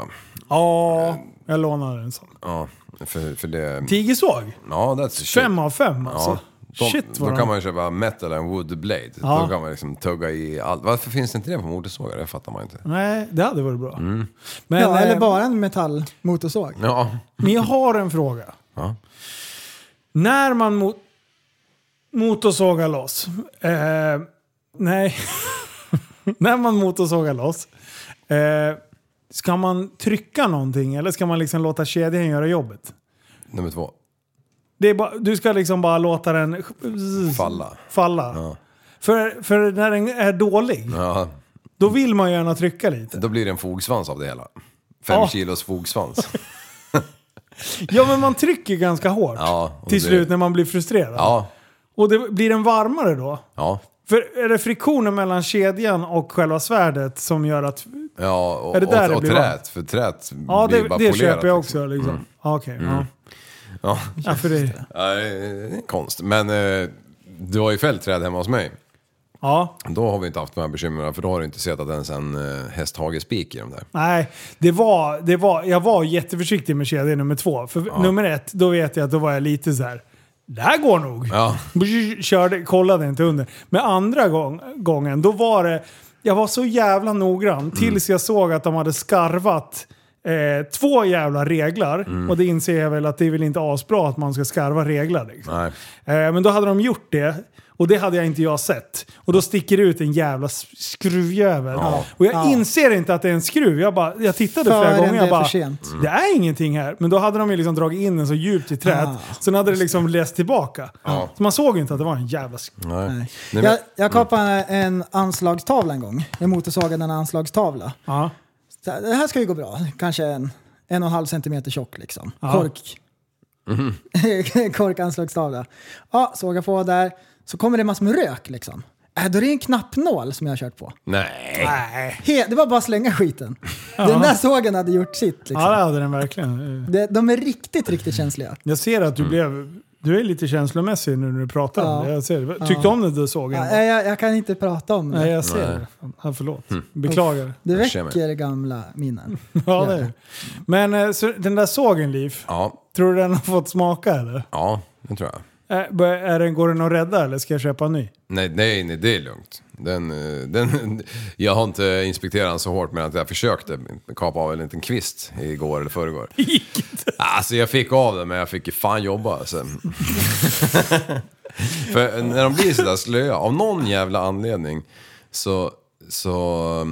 B: Ja, jag lånade en sån.
D: Ja, för, för det...
B: Tigersåg?
D: Ja, that's shit.
B: Fem av fem alltså.
D: Ja. De,
B: Shit
D: då
B: vad
D: kan
B: de...
D: man ju köpa metal and wood blade.
B: Ja.
D: Då kan man liksom tugga i allt. Varför finns det inte det på motorsågar? Det fattar man inte.
B: Nej, det hade varit bra.
D: Mm.
B: Men,
C: Ja,
B: eh,
C: eller bara en metallmotorsåg.
D: Ja,
B: men jag har en fråga.
D: Ja.
B: När man mot motorsågar loss. Eh, nej. När man motorsågar loss. Eh, ska man trycka någonting eller ska man liksom låta kedjan göra jobbet?
D: nummer två.
B: Det är bara, du ska liksom bara låta den
D: Falla.
B: falla. För, för när den är dålig,
D: Ja,
B: då vill man gärna trycka lite.
D: då blir det en fogsvans av det hela. Fem
B: Ja.
D: kilos fogsvans.
B: Ja, men man trycker ganska hårt
D: Ja, och
B: till
D: det-
B: slut när man blir frustrerad.
D: Ja,
B: Och det, blir den varmare då?
D: ja.
B: För är det friktionen mellan kedjan och själva svärdet som gör att...
D: Ja, och,
B: Är det där
D: och,
B: det
D: och
B: blir
D: trät. För trät
B: Ja,
D: blir
B: det,
D: bara
B: det
D: polerat.
B: köper jag
D: liksom.
B: också.
D: Mm.
B: Liksom. Okej, ja.
D: Ja.
B: ja. För det,
D: Ja, det är konst. Men eh, du har ju fällt träd hemma hos mig.
B: ja.
D: Då har vi inte haft de här bekymren för då har du inte sett att ens en eh, hästhagespik i de där.
B: Nej, det var, det var, jag var jätteförsiktig med kedja nummer två. För nummer ett, då vet jag att då var jag lite så här. Det här går nog.
D: Ja.
B: Körde, kollade inte under. Men andra gång, gången, då var det... Jag var så jävla
D: Mm.
B: noggrann tills jag såg att de hade skarvat eh, två jävla reglar.
D: Mm.
B: Och det inser jag väl att det är väl inte asbra att man ska skarva reglar. Liksom.
D: Nej.
B: Eh, men då hade de gjort det. Och det hade jag inte jag sett. Och då sticker det ut en jävla s- skruvjävel. Och jag inser inte att det är en skruv. Jag, bara, jag tittade flera
C: Förrän
B: gånger.
C: det är
B: Jag bara, "Mm,
C: för sent.
B: det är ingenting här. Men då hade de ju liksom dragit in den så djupt i träet.
C: Ah.
B: Sen hade det liksom läst tillbaka. Så man såg ju inte att det var en jävla skruv.
D: Nej.
C: Nej.
D: men- Mm.
C: Jag, jag kapade en anslagstavla en gång. Jag motorsågade en anslagstavla.
B: Ja.
C: Så här, Det här ska ju gå bra. Kanske en, en och en halv centimeter tjock liksom.
B: Ja.
C: Kork.
D: Mhm.
C: Korkanslagstavla. Ja, såga på där. Så kommer det massor med rök liksom. Äh, då är det en knappnål som jag har kört på.
D: Nej.
B: Nej.
C: He, det var bara att slänga skiten. Den där sågen hade gjort sitt liksom.
B: Ja, det hade den verkligen. Eh,
C: Det, de är riktigt, riktigt känsliga.
B: Jag ser att du blev... Du är lite känslomässig nu när du pratar om
C: Ja.
B: det. Jag ser det. Tyckte om det du såg?
C: Ja,
B: ändå?
C: nej, jag, jag kan inte prata om
B: Nej,
C: det.
B: jag ser det. Ja, förlåt. Beklagar.
C: Det
D: Jag känner mig.
C: väcker gamla minnen.
B: Ja, det är det. Men eh, så, den där sågen, Liv.
D: Ja,
B: Tror du den har fått smaka eller?
D: ja, det tror jag.
B: Är, bör- är den, går den att rädda eller ska jag köpa en ny?
D: Nej, nej, nej, det är lugnt. Den, eh, den, jag har inte inspekterat den så hårt men att jag försökte kapa av en liten kvist igår eller förrgår.
B: Gick inte.
D: Alltså jag fick av den men jag fick ju fan jobba alltså. För när de blir sådär slöa, av någon jävla anledning så, så,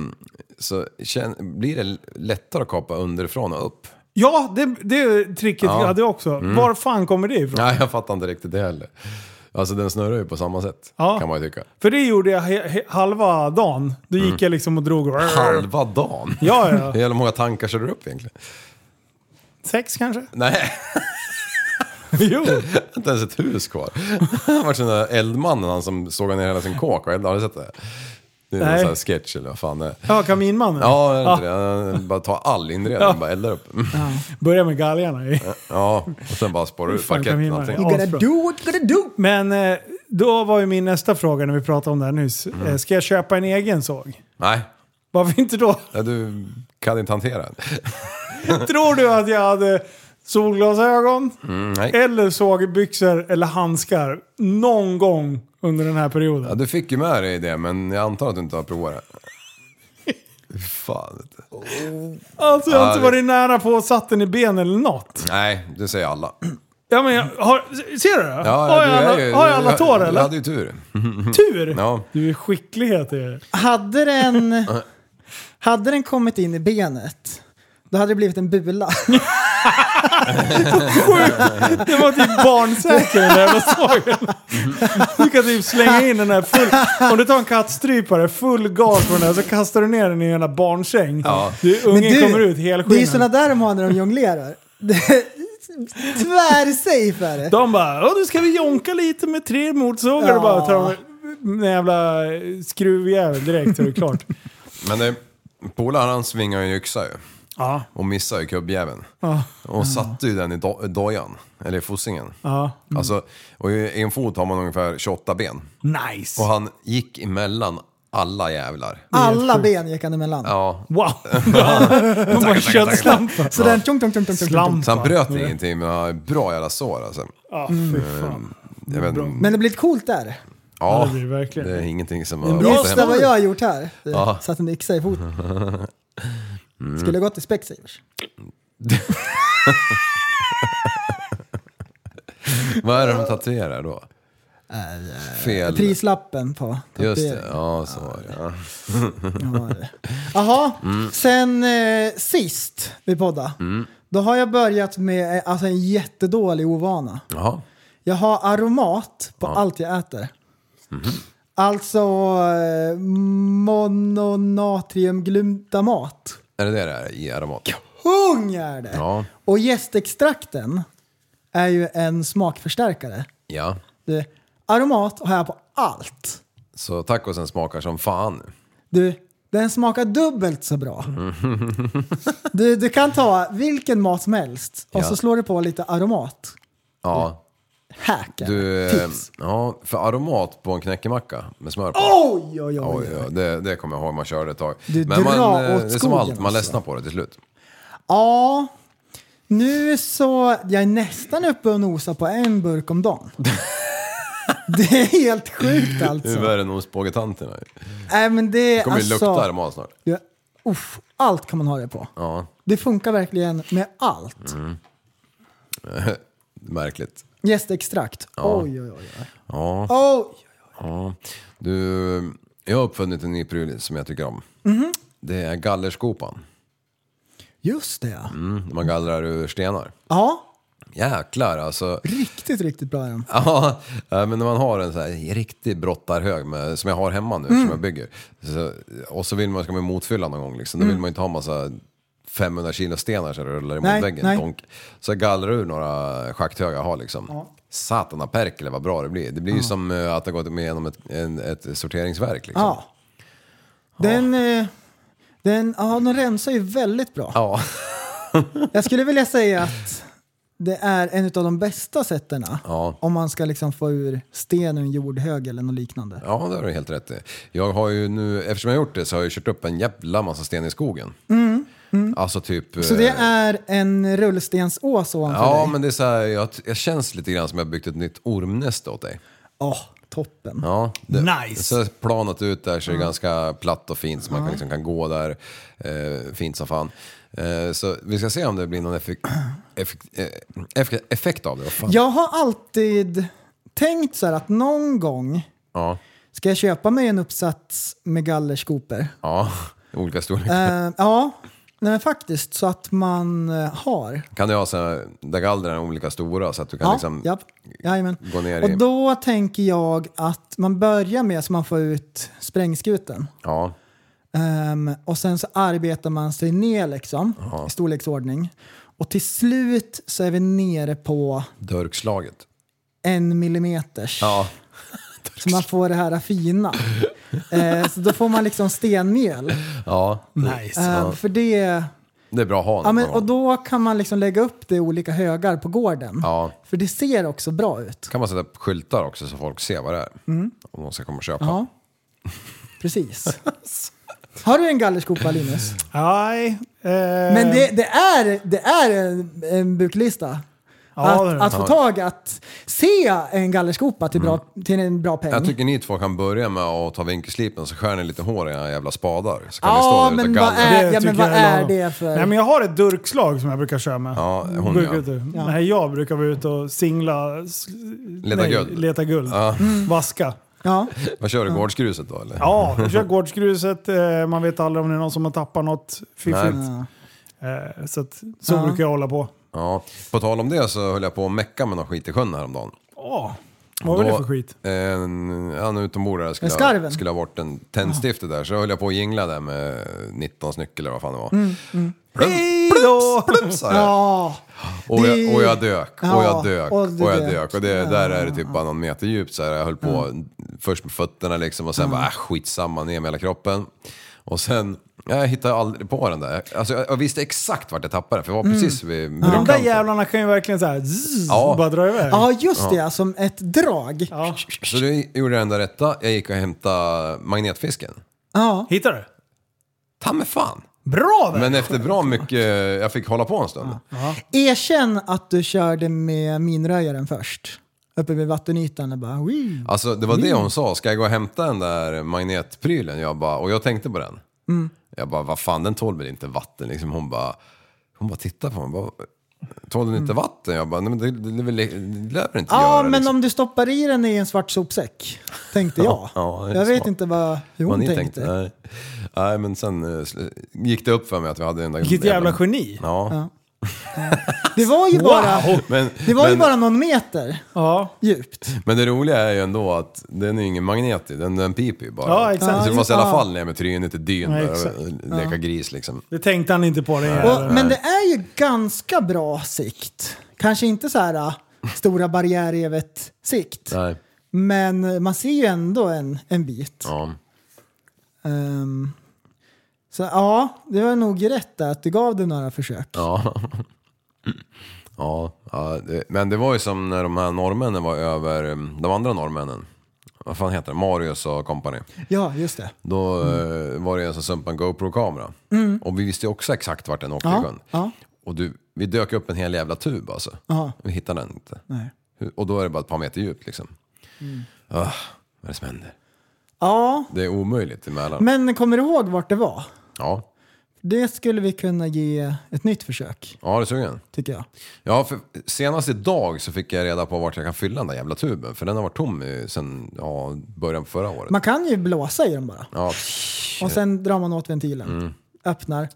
D: så kän, blir det lättare att kapa underifrån och upp.
B: Ja, det, det tricket
D: Ja. Mm.
B: hade jag också. Var fan kommer det ifrån?
D: Nej, jag fattar inte riktigt det heller. Alltså den snurrar ju på samma sätt,
B: Ja.
D: kan man ju tycka.
B: För det gjorde jag he, he, halva dagen. Då
D: Mm.
B: gick jag liksom och drog. och-
D: Halva dagen?
B: Ja, ja.
D: Hur jävla många tankar kör du upp egentligen?
B: Sex kanske?
D: Nej,
B: jo.
D: inte ens ett hus kvar. Det har varit den där eldmannen, han som såg ner hela sin kåk och eldade. Har du sett det? Det är någon
B: Nej.
D: sån här sketch eller vad fan det är.
B: Ja, Kaminmannen.
D: Ja, är det inte det? Han bara tar all inredning
B: Ja.
D: och bara eldar upp.
B: Börja med galgarna. i-
D: Ja, och sen bara spårar ut
B: fan,
D: parketten och
B: Camilla,
D: allting.
C: You gotta do what you gotta do.
B: Men eh, då var ju min nästa fråga när vi
D: Mm.
B: pratade om det här nyss. Eh, Ska jag köpa en egen såg?
D: Nej,
B: Varför inte då?
D: ja, du Kan inte hantera den.
B: Tror du att jag hade solglasögon?
D: nej.
B: Eller såg byxor eller handskar någon gång under den här
D: Ja,
B: perioden?
D: du fick ju med dig det, men jag antar att du inte har provat det. Fy Fan. vet du.
B: Alltså jag har inte
D: Ja, det-
B: varit nära på att satt den i ben eller något.
D: Nej, det säger alla.
B: Ja men jag har, ser du det?
D: Ja,
B: har, jag
D: du är
B: alla,
D: ju-
B: har jag alla tår
D: du, Du
B: eller?
D: hade ju tur.
B: Tur!
D: Ja.
B: Du är skicklighet i det.
C: Hade den, hade den kommit in i benet, då hade det blivit en bula.
B: Det var typ barnsäker den där jävla sågen. Du kan typ slänga in den här full... Om du tar en kattstrypare full gas på den där så kastar du ner den i en jävla barnsäng. Du, ungen kommer ut
C: det är ju sådana
B: helskinnad.
C: där de har när de jonglerar. Det är Tvärsafe är det.
B: De bara "Ja, nu ska vi jonka lite med tre motorsågar
C: Ja.
B: och bara tar de en jävla skruvjävel direkt så är det klart.
D: Men eh, polaren han svingar ju en yxa ju.
B: Ja.
D: Och missar ju kubbjäveln. Och satte ju den i do- dojan, eller i fossingen.
B: Ja.
D: Alltså, och i en fot har man ungefär 28 ben.
B: Nice!
D: Och han gick emellan alla jävlar.
C: Alla ben gick han emellan.
D: Ja.
B: Wow! De bara köttslampa.
C: Så den tjong, tjong, tjong, tjong, tjong, tjong.
D: Så han
B: Slampa.
D: bröt ingenting, men han har bra jävla sår alltså.
B: Ja, fy fan.
D: Jag vet, inte-
C: Men det blir ett coolt där.
D: ja,
B: det blir det verkligen.
D: det är ingenting som
B: är
D: har...
B: bra
C: Gissa vad jag har gjort här.
D: Ja. Mm.
C: Satt en yxa i foten. Skulle ha gått till Specsavers.
D: Vad är det de tatuerar då? Fel.
C: Prislappen på
D: Just
C: tatueringen.
D: det, ja så var det. Ja.
C: Ja, det. Jaha,
D: Mm.
C: sen eh, sist vi poddade. Då har jag börjat med eh, alltså, en jättedålig ovana.
D: Jaha.
C: Jag har aromat på allt jag äter.
D: Mhm.
C: Alltså eh, mononatriumglutamat.
D: Är det det det är i aromat?
C: Pung är det!
D: Ja.
C: Och jästextrakten är ju en smakförstärkare.
D: Ja.
C: Du, aromat har jag på allt.
D: Så tacosen smakar som fan nu.
C: Du, den smakar dubbelt så bra. Du, du kan ta vilken mat som helst och
D: Ja.
C: så slår du på lite aromat.
D: Ja.
C: Hack är
D: Du,
C: det.
D: eh,
C: Mm. tips.
D: ja, för aromat på en knäckemacka med smör på.
C: Oj, oj, oj.
D: Oj, ja, det, det kommer jag ihåg, man körde ett tag.
C: Du
D: Men man,
C: drar
D: eh,
C: åt
D: det är som
C: skogen
D: allt, man
C: alltså.
D: ledsnar på det till slut.
C: Ja, nu så... Jag är nästan uppe och nosar på en burk om dagen. det är helt sjukt
D: Det är
C: alltså.
D: värre än ostbågetanterna. Det
C: Nej, men det är
D: kommer ju
C: alltså...
D: lukta aromat snart.
C: Ja, uff, allt kan man ha det på.
D: Ja,
C: Det funkar verkligen med allt.
D: märkligt.
C: Jästextrakt. Oj, oj, oj. oj.
D: Ja.
C: Oj.
D: Ja. Du, jag har uppfunnit en ny pryl som jag tycker om.
C: Mhm.
D: Det är gallerskopan.
C: Just det ja.
D: Mm, man gallrar ur stenar.
C: Ja,
D: Jäklar alltså.
C: riktigt, riktigt bra är de.
D: Ja, eh, men när man har en så här riktig brottarhög med, som jag har hemma nu
C: Mm.
D: som jag bygger. Så, och så vill man, ska man motfylla någon gång liksom. Då vill man ju inte ha massa 500 kilo stenar som rullar emot
C: Mm. Nej,
D: väggen.
C: nej.
D: Donk. Så jag gallrar ur några schakthöga jag har liksom. Satana perkele vad bra det blir. Det blir ju som eh, att ha gått med genom ett, en, ett sorteringsverk liksom.
C: Ja. Den, eh, den, ja, den rensar ju väldigt bra.
D: Ja.
C: Jag skulle vilja säga att det är en av de bästa sätten
D: Ja.
C: om man ska liksom få ur sten ur en jordhög eller något liknande.
D: Ja, det har du helt rätt i. Jag har ju nu, eftersom jag har gjort det så har jag ju kört upp en jävla massa sten i skogen. Alltså typ...
C: Mm, Så det
D: eh,
C: är en rullstensås ovanför
D: Ja,
C: dig?
D: men det är så här, jag, jag känns lite grann som jag byggt ett nytt ormnäste åt dig.
C: Åh, toppen.
D: Ja, det,
B: Nice.
D: Så har jag planat ut där
C: Mm.
D: så det är ganska platt och fint så man kan, liksom, kan gå där eh, fint som fan. Eh, så vi ska se om det blir någon effekt, effekt, eh, effekt, effekt av det. Vad fan?
C: Jag har alltid tänkt så här att någon gång
D: Ja.
C: ska jag köpa mig en uppsats med gallerskopor.
D: ja, olika storlekar.
C: Eh, ja, nej, men faktiskt så att man eh, har.
D: Kan du ha så här, där gallren är olika stora så att du kan
C: Ja,
D: liksom...
C: japp. Jajamän.
D: gå ner i-
C: Och då tänker jag att man börjar med så man får ut sprängskutan.
D: Ja,
C: Ehm, och sen så arbetar man sig ner liksom, i storleksordning. Och till slut så är vi nere på
D: dörkslaget.
C: en millimeters.
D: Ja.
C: Så man får det här fina. Eh, så då får man liksom stenmjöl.
D: Ja,
B: Nice.
C: Eh, för det...
D: det är bra att ha
C: Ja,
D: någon
C: men,
D: gång.
C: och då kan man liksom lägga upp det i olika högar på gården.
D: Ja.
C: För det ser också bra ut.
D: kan man sätta upp skyltar
C: Mm.
D: också så folk ser vad det är. Om de ska komma och köpa.
C: Ja, precis. Har du en gallerskopa Linus?
B: Ehm. Nej. Eh,
C: Men det, det är, det är en, en buklista.
B: Ja, det är
C: att,
B: det.
C: att få tag att se en gallerskopa till, bra, till en bra peng.
D: Jag tycker ni två kan börja med att ta vinkelslipen så skär ni lite hår i era jävla spadar. Så kan ni stå
C: ja,
D: där utan
C: men vad
D: galler.
C: är, ja, men
B: tycker
C: vad
B: jag
C: är
B: lagom.
C: det för...
B: Nej, men jag har ett durkslag som jag brukar köra med.
D: Ja, hon
B: brukar
D: ja.
B: du.
C: Ja.
B: Nej, jag brukar vara ute och singla... s-
D: Leta
B: nej,
D: guld.
B: Leta guld.
C: Mm.
B: Vaska.
C: ja.
D: Vad kör du, gårdsgruset då eller?
B: Ja, jag kör gårdsgruset. eh, Man vet aldrig om det är någon som har tappat något fiffigt.
C: Ja.
B: Eh, Så, att, så
C: Ja.
B: brukar jag hålla på.
D: Ja. På tal om det så höll jag på att mecka med någon skit i sjön häromdagen.
B: Åh, vad var det
D: Då-
B: för skit?
D: En, han utombordare skulle,
C: En skarven.
D: ha- skulle ha bort en tändstifte där så jag höll jag på att jingla där med 19 snyck eller vad fan det var. Plump, plumps, plumps, sa det.
C: Mm, Ja.
D: Och jag, och jag
C: Det-
D: dök, och
C: Ja,
D: jag dök,
C: och
D: och,
C: du
D: jag
C: dök.
D: dök. Och det, där är det typ bara någon meter djupt så här. Jag höll på
C: Mm.
D: först med fötterna liksom och sen bara äh, skitsamma, ner med hela kroppen. Och sen, jag hittade aldrig på den där. Alltså jag, jag visste exakt vart jag tappade för jag var
C: Mm.
D: precis vid
B: De där
D: brunkanten.
B: jävlarna kan ju verkligen så här, zzz,
D: Ja.
B: bara dra iväg.
C: ja, just det. ja, Som ett drag. Ja.
B: Ehm. Ja.
D: Så då gjorde jag den där rätta, jag gick och hämtade magnetfisken.
B: Hittar du?
D: Ta mig fan!
B: Bra där!
D: Men efter bra mycket, jag fick hålla på en stund.
C: Erkänn att du körde med minröjaren först. Uppe vid vattenytan och bara... Wii.
D: Alltså det var det hon sa, ska jag gå och hämta den där magnetprylen? Jag bara, och jag tänkte på den. Jag bara, vad fan den tål väl inte vatten? Liksom, hon bara, hon bara tittar på mig. Bara, tål den inte vatten? Jag bara, nej men det, det, det, det, det lär väl inte
C: Ja,
D: göra.
C: men
D: liksom.
C: om du stoppar i den i en svart sopsäck, tänkte jag.
D: ja, det är
C: jag vet
D: smart.
C: inte vad, hur hon
D: Vad ni
C: tänkte.
D: tänkte? Nej. nej men sen eh, sl- gick det upp för mig att vi hade den där
B: Vilket jävla geni!
D: Ja.
C: Det var ju bara,
D: Men,
C: det var ju
D: men,
C: bara någon meter
B: Ja.
C: djupt.
D: men det roliga är ju ändå att den är ju ingen magnet i, den, den piper ju bara.
B: Ja, exakt.
D: Så det måste i alla
C: Ja.
D: fall ner med trynet i dyn
B: Ja,
D: där
B: exakt.
D: och leka gris liksom.
B: Det tänkte han inte på. Det
C: Och,
B: jävlarna.
C: men det är ju ganska bra sikt. Kanske inte så här ah, stora barriärrevet sikt.
D: Nej.
C: Men man ser ju ändå en, en bit.
D: Ja.
C: Ehm, så ja, det var nog rätt där att du gav det några försök.
D: Ja. Ja, ja det, men det var ju som när de här norrmännen var över um, de andra norrmännen. Vad fan heter det? Marius och company.
C: Ja, just det.
D: Då
C: Mm.
D: eh, var det en som sumpade en GoPro-kamera. Och vi visste ju också exakt vart den åkte i sjön.
C: ja.
D: Och du, vi dök upp en hel jävla tub alltså.
C: Ja.
D: Vi hittade den inte.
C: Nej. Mm.
D: Hur- Och då är det bara ett par meter djupt liksom. Ah, vad är det som händer?
C: Ja,
D: Det är omöjligt emellan.
C: men kommer du ihåg vart det var?
D: Ja.
C: Det skulle vi kunna ge ett nytt försök,
D: ja, det är sugen.
C: tycker jag.
D: Ja, för senast idag så fick jag reda på vart jag kan fylla den där jävla tuben. För den har varit tom i- sen ja, början på förra året.
C: Man kan ju blåsa i den bara.
D: Ja,
C: Och sen drar man åt ventilen.
D: Mm.
C: Öppnar.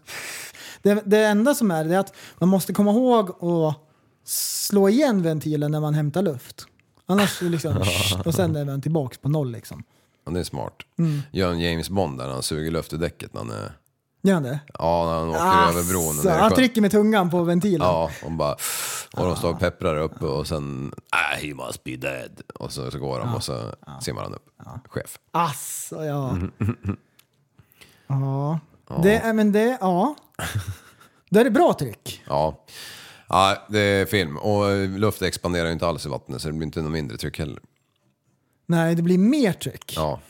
C: Det, det enda som är det är att man måste komma ihåg att slå igen ventilen när man hämtar luft. Annars är det liksom... Och sen är den tillbaka på noll liksom.
D: ja, det är smart.
C: Mm.
D: Gör en James Bond där när han suger luft i däcket när han, är-
C: Gör han det?
D: ja, när han åker över bron. och
C: Asså,
D: ner i
C: han
D: sjön.
C: trycker med tungan på ventilen.
D: Ja, och bara... Och de står
C: Ah.
D: och pepprar upp och sen... Ah, he must be dead. Och så, så går de
C: Ah.
D: och så simmar han upp. Chef.
C: Asså, ja. Ja. Det, är- men det... Ja. Då är det bra tryck.
D: Ja. ja, det är film. Och eh, luft expanderar ju inte alls i vattnet så det blir inte något mindre tryck heller.
C: Nej, det blir mer tryck.
D: Ja.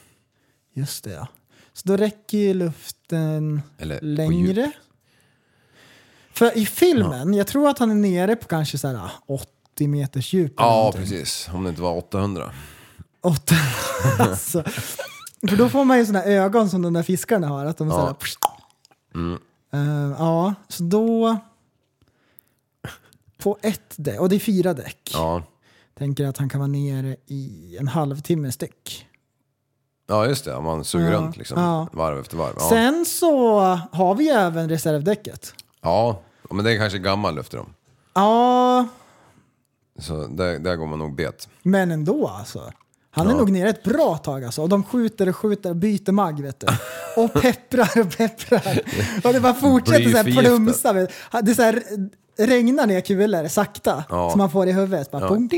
C: Just det ja. Så då räcker ju luften
D: Eller på
C: längre.
D: djup.
C: För i filmen, jag tror att han är nere på kanske så här 80 meters djup. eller
D: Ja,
C: någonting.
D: precis. Om det inte var 800.
C: 8. alltså. För då får man ju såna här ögon som de där fiskarna har. Att de ja. Så här,
D: Ja. Mm.
C: pst. Eh, ja, så då... På ett däck, och det är fyra däck.
D: Ja.
C: Tänker att han kan vara nere i en halvtimme styck.
D: Ja just det, man
C: Ja.
D: suger runt liksom.
C: Ja.
D: Varv efter varv. Ja.
C: Sen så har vi ju även reservdäcket.
D: ja, men det är kanske gammal luft i dem.
C: Ja,
D: Så där, där går man nog bet.
C: Men ändå alltså. Han är nog nere ett bra tag alltså. Och de skjuter och skjuter och byter magg vet du. Och pepprar och pepprar. Och det bara fortsätter
D: Blir
C: så här
D: förgiftad.
C: plumsa. vet du. Det så här regnar ner kulor sakta.
D: Ja.
C: Som man får i huvudet. Bara bunk,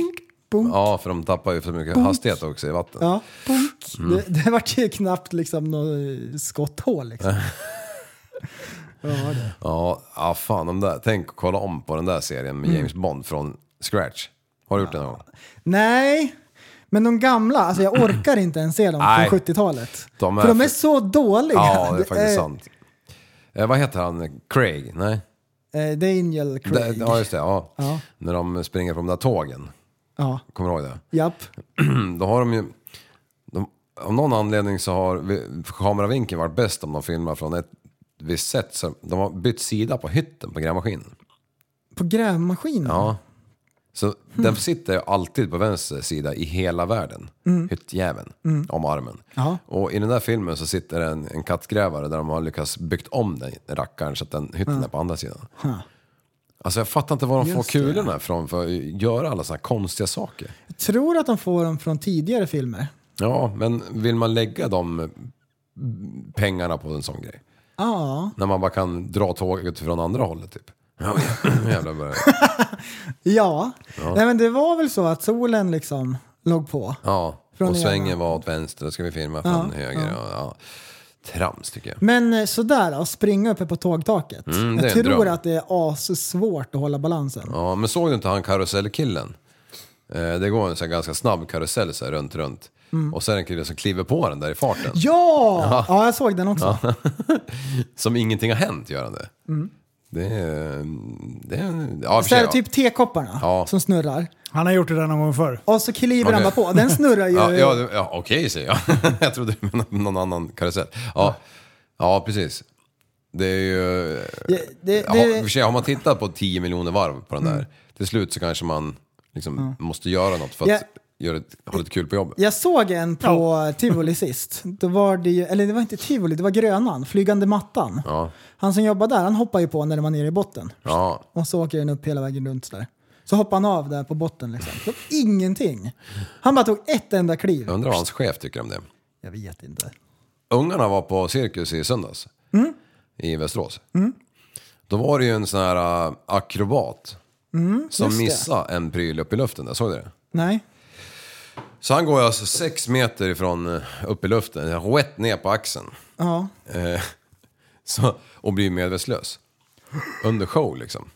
C: bunk. Ja.
D: Ja, för de tappar ju för mycket hastighet också i vatten.
C: bunk.
D: Mm.
C: Det, det vart ju knappt liksom något skotthål liksom.
D: Äh.
C: ja, det.
D: Ja, ja fan de där. Tänk att kolla
C: Mm.
D: om på den där serien med James Bond från scratch. Har du gjort det någon gång?
C: Nej, Men de gamla, alltså jag orkar inte ens se dem
D: Nej.
C: från 70-talet.
D: De är
C: för de är
D: för-
C: så dåliga.
D: Ja, det är faktiskt
C: eh,
D: sant. Eh, vad heter han? Craig? Nej?
C: eh, Daniel
D: Det-
C: Craig.
D: Ja, just det. Ja.
C: Ja.
D: När de springer på de där tågen.
C: Ja,
D: Kommer du ihåg det?
C: japp.
D: Då har de ju... De, av någon anledning så har vi- kameravinkeln varit bäst om de filmar från ett visst sätt. Så de har bytt sida på hytten på grävmaskinen.
C: På grävmaskinen.
D: Ja. Så den sitter ju alltid på vänster sida i hela världen. Hyttjäveln om armen.
C: Mm. Ja.
D: Och i den där filmen så sitter en, en kattgrävare där de har lyckats byggt om den rackaren så att den hytten är på andra sidan. Alltså jag fattar inte var de får
C: Just det.
D: kulorna ifrån för att göra alla sådana här konstiga saker.
C: Jag tror att de får dem från tidigare filmer.
D: Ja, men vill man lägga de pengarna på en sån grej?
C: Ja,
D: När man bara kan dra tåget från andra hållet typ. Ja, jävlar vad-
C: ja. Nej men det var väl så att solen liksom låg på.
D: Ja,
C: Från
D: och
C: ena.
D: svängen var åt vänster, då ska vi filma från höger. Ja. Ja. Trams tycker jag.
C: Men eh, sådär då, springa uppe på tågtaket.
D: Mm, det
C: jag
D: är en
C: tror
D: dröm.
C: att det är assvårt att hålla balansen.
D: Ja, men såg du inte han karusellkillen? Eh, det går en sån här ganska snabb karusell så här, runt, runt. Och sen är det en kille som kliver på den där i farten.
C: Mm. Ja! Ja, jag såg den också.
D: Som ingenting har hänt, gör han det. Det är... eh, Det är ja, i
C: Mm.
D: och för
C: Så
D: sig,
C: här,
D: ja.
C: typ tekopparna
D: Ja.
C: som snurrar.
B: Han har gjort det där någon gång förr.
C: Och så kliver han bara
D: Okej.
C: på. Den snurrar ju.
D: Ja, ja, det- ja, okej säger jag. jag trodde du menade någon annan karusell. Ja, ja precis. Det är ju...
C: Det- det-
D: Ja,
C: det- Mm.
D: i och för sig, har man tittat på 10 miljoner varv på den där, till slut så kanske man liksom måste göra något för att
C: Ja.
D: göra ett, ha lite kul på jobbet.
C: Jag såg en på Tivoli sist. Då var det ju, eller det var inte Tivoli, det var Grönan, Flygande mattan.
D: Ja.
C: Han som jobbar där, han hoppar ju på när man är nere i botten.
D: Ja.
C: Och så åker den upp hela vägen runt sådär. Så hoppar han av där på botten liksom. Det var ingenting. Han bara tog ett enda kliv.
D: Jag undrar vad hans chef tycker om det.
C: Jag vet inte.
D: Ungarna var på cirkus i söndags
C: Mm.
D: i Västerås. Då var det ju en sån här äh, akrobat som
C: Mm, just det.
D: missade en pryl upp i luften där, såg du det?
C: Nej.
D: Så han går alltså sex meter ifrån eh, upp i luften, rätt ner på axeln.
C: Ja.
D: Eh, så, och blir medvetslös. Under show liksom.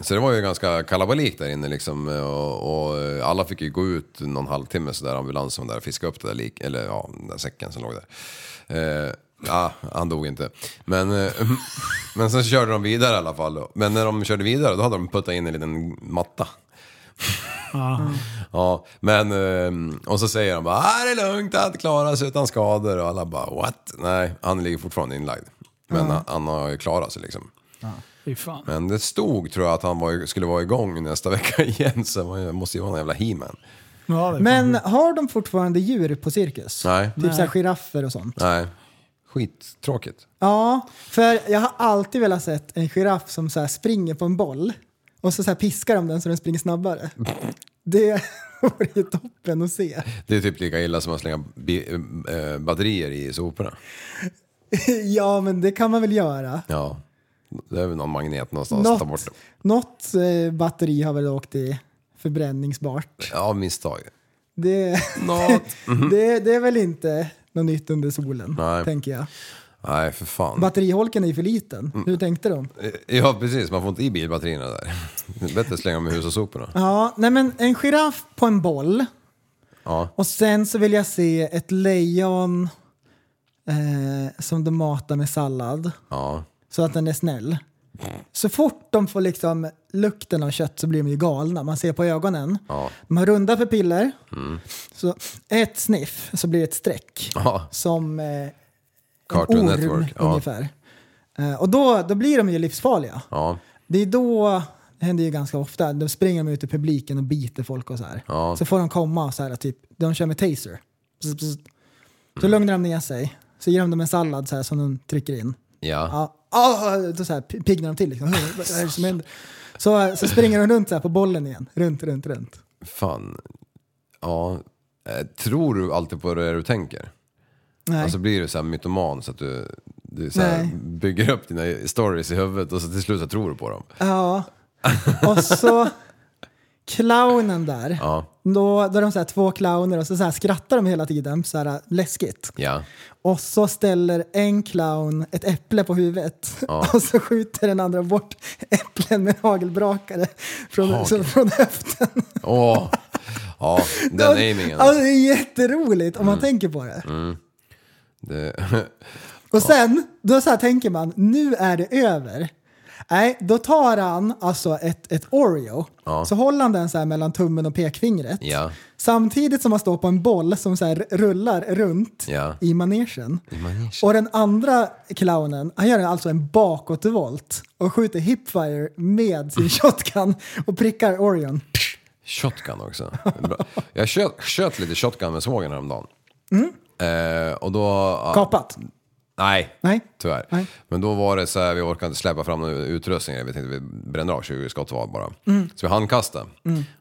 D: Så det var ju ganska kalabalik där inne liksom. eh, Och, och eh, alla fick ju gå ut någon halvtimme sådär, ambulansen var där och fiskade upp det där lik, eller ja, den där säcken som låg där. Eh, ja, han dog inte. Men, eh, men sen körde de vidare i alla fall. Men när de körde vidare då hade de puttat in en liten matta. Ja, men ehm, och så säger de bara ah, det är lugnt, han klarar sig utan skador och alla bara what? Nej, han ligger fortfarande inlagd. Men han, han har ju klarat sig liksom.
B: Fy fan.
D: Men det stod tror jag att han var, skulle vara igång nästa vecka igen så man måste ju vara någon jävla he-man.
B: Ja, det är fan.
C: Men har de fortfarande djur på cirkus?
D: Nej.
C: Typ såhär giraffer och sånt.
D: Nej, skittråkigt.
C: Ja, för jag har alltid velat sett en giraff som så här springer på en boll och så, så här piskar de den så den springer snabbare. Det vore ju toppen att se.
D: Det är typ lika illa som att slänga bi- eh, batterier i soporna.
C: Ja, men det kan man väl göra.
D: Ja, det är väl någon magnet någonstans, ta bort
C: Något,
D: det.
C: något eh, batteri har väl åkt i förbränningsbart.
D: Ja, misstag.
C: Det,
D: Något. Mhm.
C: det, det är väl inte något nytt under solen,
D: Nej.
C: tänker jag.
D: Nej, för fan.
C: Batteriholken är ju för liten.
D: Mm.
C: Hur tänkte de?
D: Eh, Ja, precis. Man får inte i bilbatterierna där. Det är bättre att slänga dem i hushållssoporna.
C: Ja, nej men en giraff på en boll.
D: Ja.
C: Och sen så vill jag se ett lejon eh, som de matar med sallad
D: Ja.
C: så att den är snäll. Så fort de får liksom lukten av kött så blir de ju galna. Man ser på ögonen.
D: Ja. Mm.
C: De har runda pupiller. Så ett sniff så blir det ett streck.
D: ja.
C: Som eh,
D: Cartoon
C: orm
D: Network. Ja.
C: ungefär. Eh, och då, då blir de ju livsfarliga.
D: Ja.
C: Det är då, det händer ju ganska ofta, då springer de ut i publiken och biter folk och så här.
D: Ja. Mm.
C: Så får de komma och så här, typ, de kör med taser. Pss, pss. Så lugnar de ner sig, så ger de dem en sallad så här, som de trycker in.
D: Ja.
C: Ja, ah, då så här, pi- piggnar de till liksom. Vad är det som händer? Så, så springer de runt så här på bollen igen, runt, runt, runt.
D: Fan. Ja. Eh, Tror du alltid på det du tänker?
C: Nej.
D: Alltså blir du så här mytoman så att du, du så här
C: Nej.
D: bygger upp dina stories i huvudet och så till slut så tror du på dem?
C: Ja. Och så clownen där.
D: Ja.
C: Då, då är de så här två clowner och så, så här skrattar de hela tiden så här läskigt.
D: Ja.
C: Och så ställer en clown ett äpple på huvudet och så skjuter den andra bort äpplen med hagelbrakare från,
D: Hagel.
C: så, från höften.
D: Åh. Ja, den Mm. aimingen.
C: Alltså, det är jätteroligt om man tänker på det.
D: Det,
C: Och sen, då så här tänker man, nu är det över. Nej, då tar han alltså ett, ett Oreo,
D: Ja.
C: så håller han den så här mellan tummen och pekfingret.
D: Ja.
C: Samtidigt som han står på en boll som så här rullar runt
D: Ja.
C: i, manegen. Och den andra clownen, han gör alltså en bakåtvolt och skjuter hipfire med sin shotgun och prickar Orion.
D: Shotgun också. Det är Bra. Jag köt, köt lite shotgun med svågern häromdagen. Mm. Eh, och då...
C: Kapat.
D: Nej,
C: Nej.
D: tyvärr.
C: Nej.
D: Men då var det så här, vi orkade inte släppa fram någon utrustning. Vi tänkte vi bränner av 20 skott var bara.
C: Mm.
D: Så vi handkastade.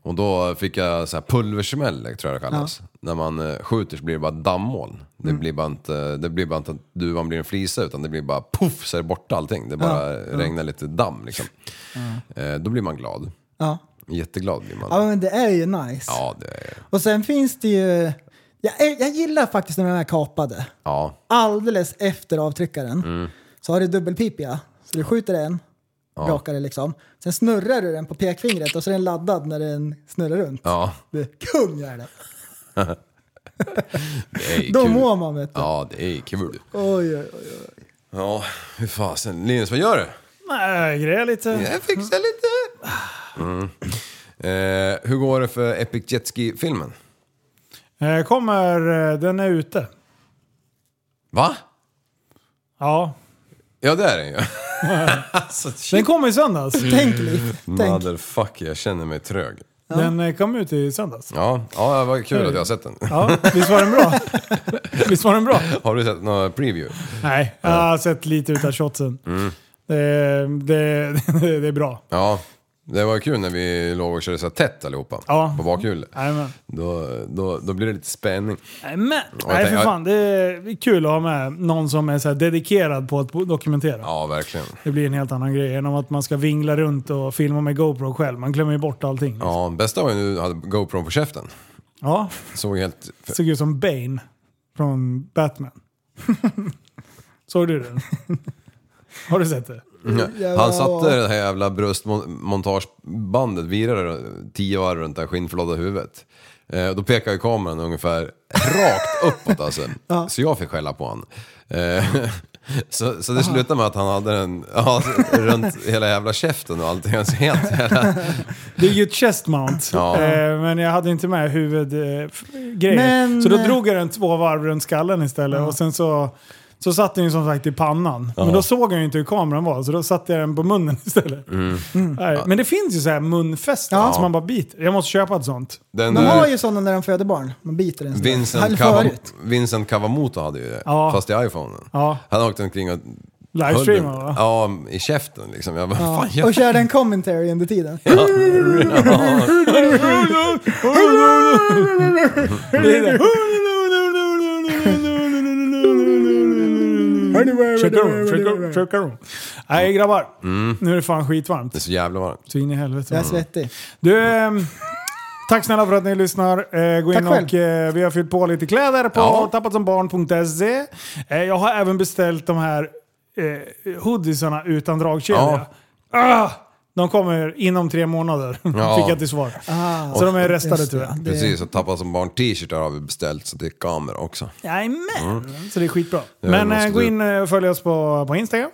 D: Och då fick jag så här pulversmäll, tror jag det kallas. När man eh, skjuter så blir det bara dammoln. Det,
C: Mm.
D: blir bara inte, det blir bara inte att duvan blir en flisa, utan det blir bara poff så är det borta allting. Det bara regnar lite damm liksom. Eh, då blir man glad.
C: Ja.
D: Jätteglad blir man.
C: ja, men det är ju nice.
D: Ja, det är...
C: Och sen finns det ju... Jag, jag gillar faktiskt när de är kapade.
D: Ja,
C: alldeles efter avtryckaren
D: Mm.
C: så har du dubbelpipiga. Så du skjuter en, rakar det liksom. Sen snurrar du den på pekfingret och så är den laddad när den snurrar runt.
D: ja.
C: Du är kung är det.
D: Det är ju
C: Då
D: kul.
C: mår man vet du.
D: Ja, det är ju kul.
C: Oj, oj, oj.
D: Ja, hur fasen. Linus, vad gör du?
B: Nej, grejer lite.
D: Jag fixar lite. Mm. Eh, hur går det för Epic Jet Ski-filmen?
B: Eh, Kommer, eh, den är ute.
D: Va?
B: Ja.
D: Ja, det är den ju.
B: Den kommer i söndags.
C: Tänk Liv,
D: Mm.
C: tänk.
D: Motherfuck, jag känner mig trög.
B: Den eh, kom ut i söndags.
D: Ja, ja det var kul att jag har sett den.
B: Ja, visst var den bra? Visst var den bra?
D: Har du sett någon preview?
B: Nej, jag har sett lite utav shotsen.
D: Mm.
B: Det, det, det är bra.
D: Ja, det var kul när vi låg och körde så här tätt allihopa.
B: Ja.
D: På bakhjulet.
B: Jajamän.
D: Då, då, då blir det lite spänning.
B: Men,
D: jag
B: nej
D: tänker-
B: för fan, det är kul att ha med någon som är så här dedikerad på att dokumentera.
D: Ja, verkligen.
B: Det blir en helt annan grej än om att man ska vingla runt och filma med GoPro själv. Man glömmer ju bort allting. Ja,
D: Ja, bästa var ju när du hade GoPro på käften. Såg helt...
B: såg ut som Bane från Batman. såg du den? Har du sett det?
D: Han satte det här jävla bröstmontagebandet, virade tio varv runt det här skinnförlådda huvudet. Eh, då pekar ju kameran ungefär rakt uppåt alltså. Så jag fick skälla på honom. Eh, så, så det slutade med att han hade den ja, runt hela jävla käften och allting. Alltså, helt jävla,
B: Det är ju ett chest mount,
D: Ja.
B: eh, men jag hade inte med huvudgrejen. Eh, f- grejer.
C: Men-
B: så då drog jag den två varv runt skallen istället och sen så, så satt den ju som sagt i pannan. Men då såg jag ju inte hur kameran var, så då satte jag den på munnen istället.
D: Mm.
B: Mm. Nej, men det finns ju så här munfästen som man bara biter. Jag måste köpa ett sånt.
D: den,
C: Man har
D: eh,
C: ju sådana när de föder barn. Man biter en sån. Eller
D: Vincent, Kavam
C: förut.
D: Vincent Cavamoto hade ju det,
B: Ja.
D: fast i iPhonen.
B: Ja.
D: Han åkte omkring och...
B: Livestreamar,
D: höll den-
B: va?
D: Ja, i käften liksom. Jag bara, fan gör
C: Och körde en commentary under tiden.
B: Det är det. Checka room, checka room, checka room. Nej grabbar, nu är det fan skitvarmt.
D: Mm. Det är så jävla varmt.
B: Så in i helvete.
C: Jag är svettig.
B: Du, ehm, tack snälla för att ni lyssnar. Eh, gå
C: Tack
B: in
C: själv.
B: och eh, vi har fyllt på lite kläder på
D: Ja.
B: tappatsombarn.se. Eh, jag har även beställt de här eh, hoodiesarna utan dragkedja. Ah, de kommer inom tre månader,
D: Ja.
B: fick jag till svar. Så de är restade
C: Ah. just det.
B: tyvärr.
D: Precis, och tappa som barn t-shirtar har vi beställt så det kommer också.
B: Jajamän! Så det är skitbra.
D: Ja,
B: Men
D: måste
B: eh, gå
D: du-
B: in eh, och följ oss på, på Instagram,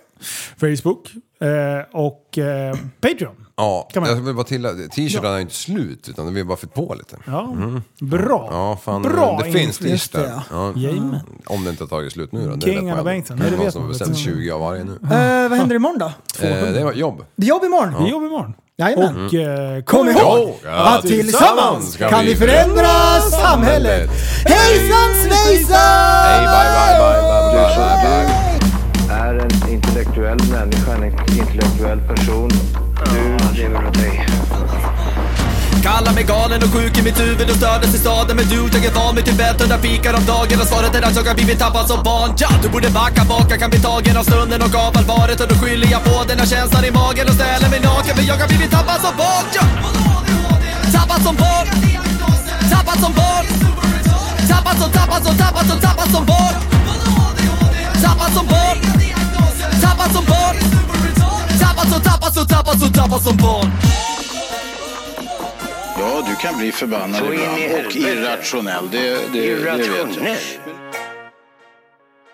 B: Facebook eh, och eh, Patreon.
D: Ja,
B: Kan man-
D: jag vill bara tillägga, t-shirtarna är ju inte slut utan vi har bara fyllt på lite.
B: Ja. Bra!
D: Mm. Ja, fan.
B: Bra
D: det finns
B: inflytande.
C: Just det,
D: t-shirtar. Ja.
B: Jajamän.
D: Om det inte har tagit slut nu då. Det
B: King
D: rätt
B: Anna
D: vad jag-
B: Bengtsson.
D: Det
B: Nej,
D: är
B: det
D: någon
B: vet
D: som har
B: man
D: beställt 20 av varje nu.
C: Eh, vad händer imorgon då?
D: Eh, det var jobb.
C: Det är jobb imorgon.
B: Vi jobbar imorgon.
C: Jajamän.
B: Och eh,
C: Kom ihåg
D: ihåg
C: att
D: att
C: tillsammans
D: Mm. tillsammans kan
C: kan
D: vi
C: vi förändra samhället. Hejsan svejsan!
D: Hej, bye, bye, bye, bye, bye, bye, bye.
F: är en intellektuell människa, en intellektuell person. Du lever av dig.
G: Kallar mig galen och sjuk i mitt huvud och stördes i staden Men du, jag är van vid Tibet och där fikar om dagen Och svaret är att jag har blivit tappad som barn ja, Du borde backa bak, jag kan bli tagen av stunden och av allvaret Och då skyller jag på den här känslan i magen och ställer mig naken För jag har blivit tappad som barn ja. Tappad som barn Tappad som barn Tappad som, tappad som, tappad som, tappad som barn Tappad som barn Tappad som barn Tappad som, tappad som, tappad som, tappad som barn
H: Ja, du kan bli förbannad
F: Så in i
H: ibland och
F: helvete.
H: irrationell. Det, det, det vet jag.
F: Irrationell.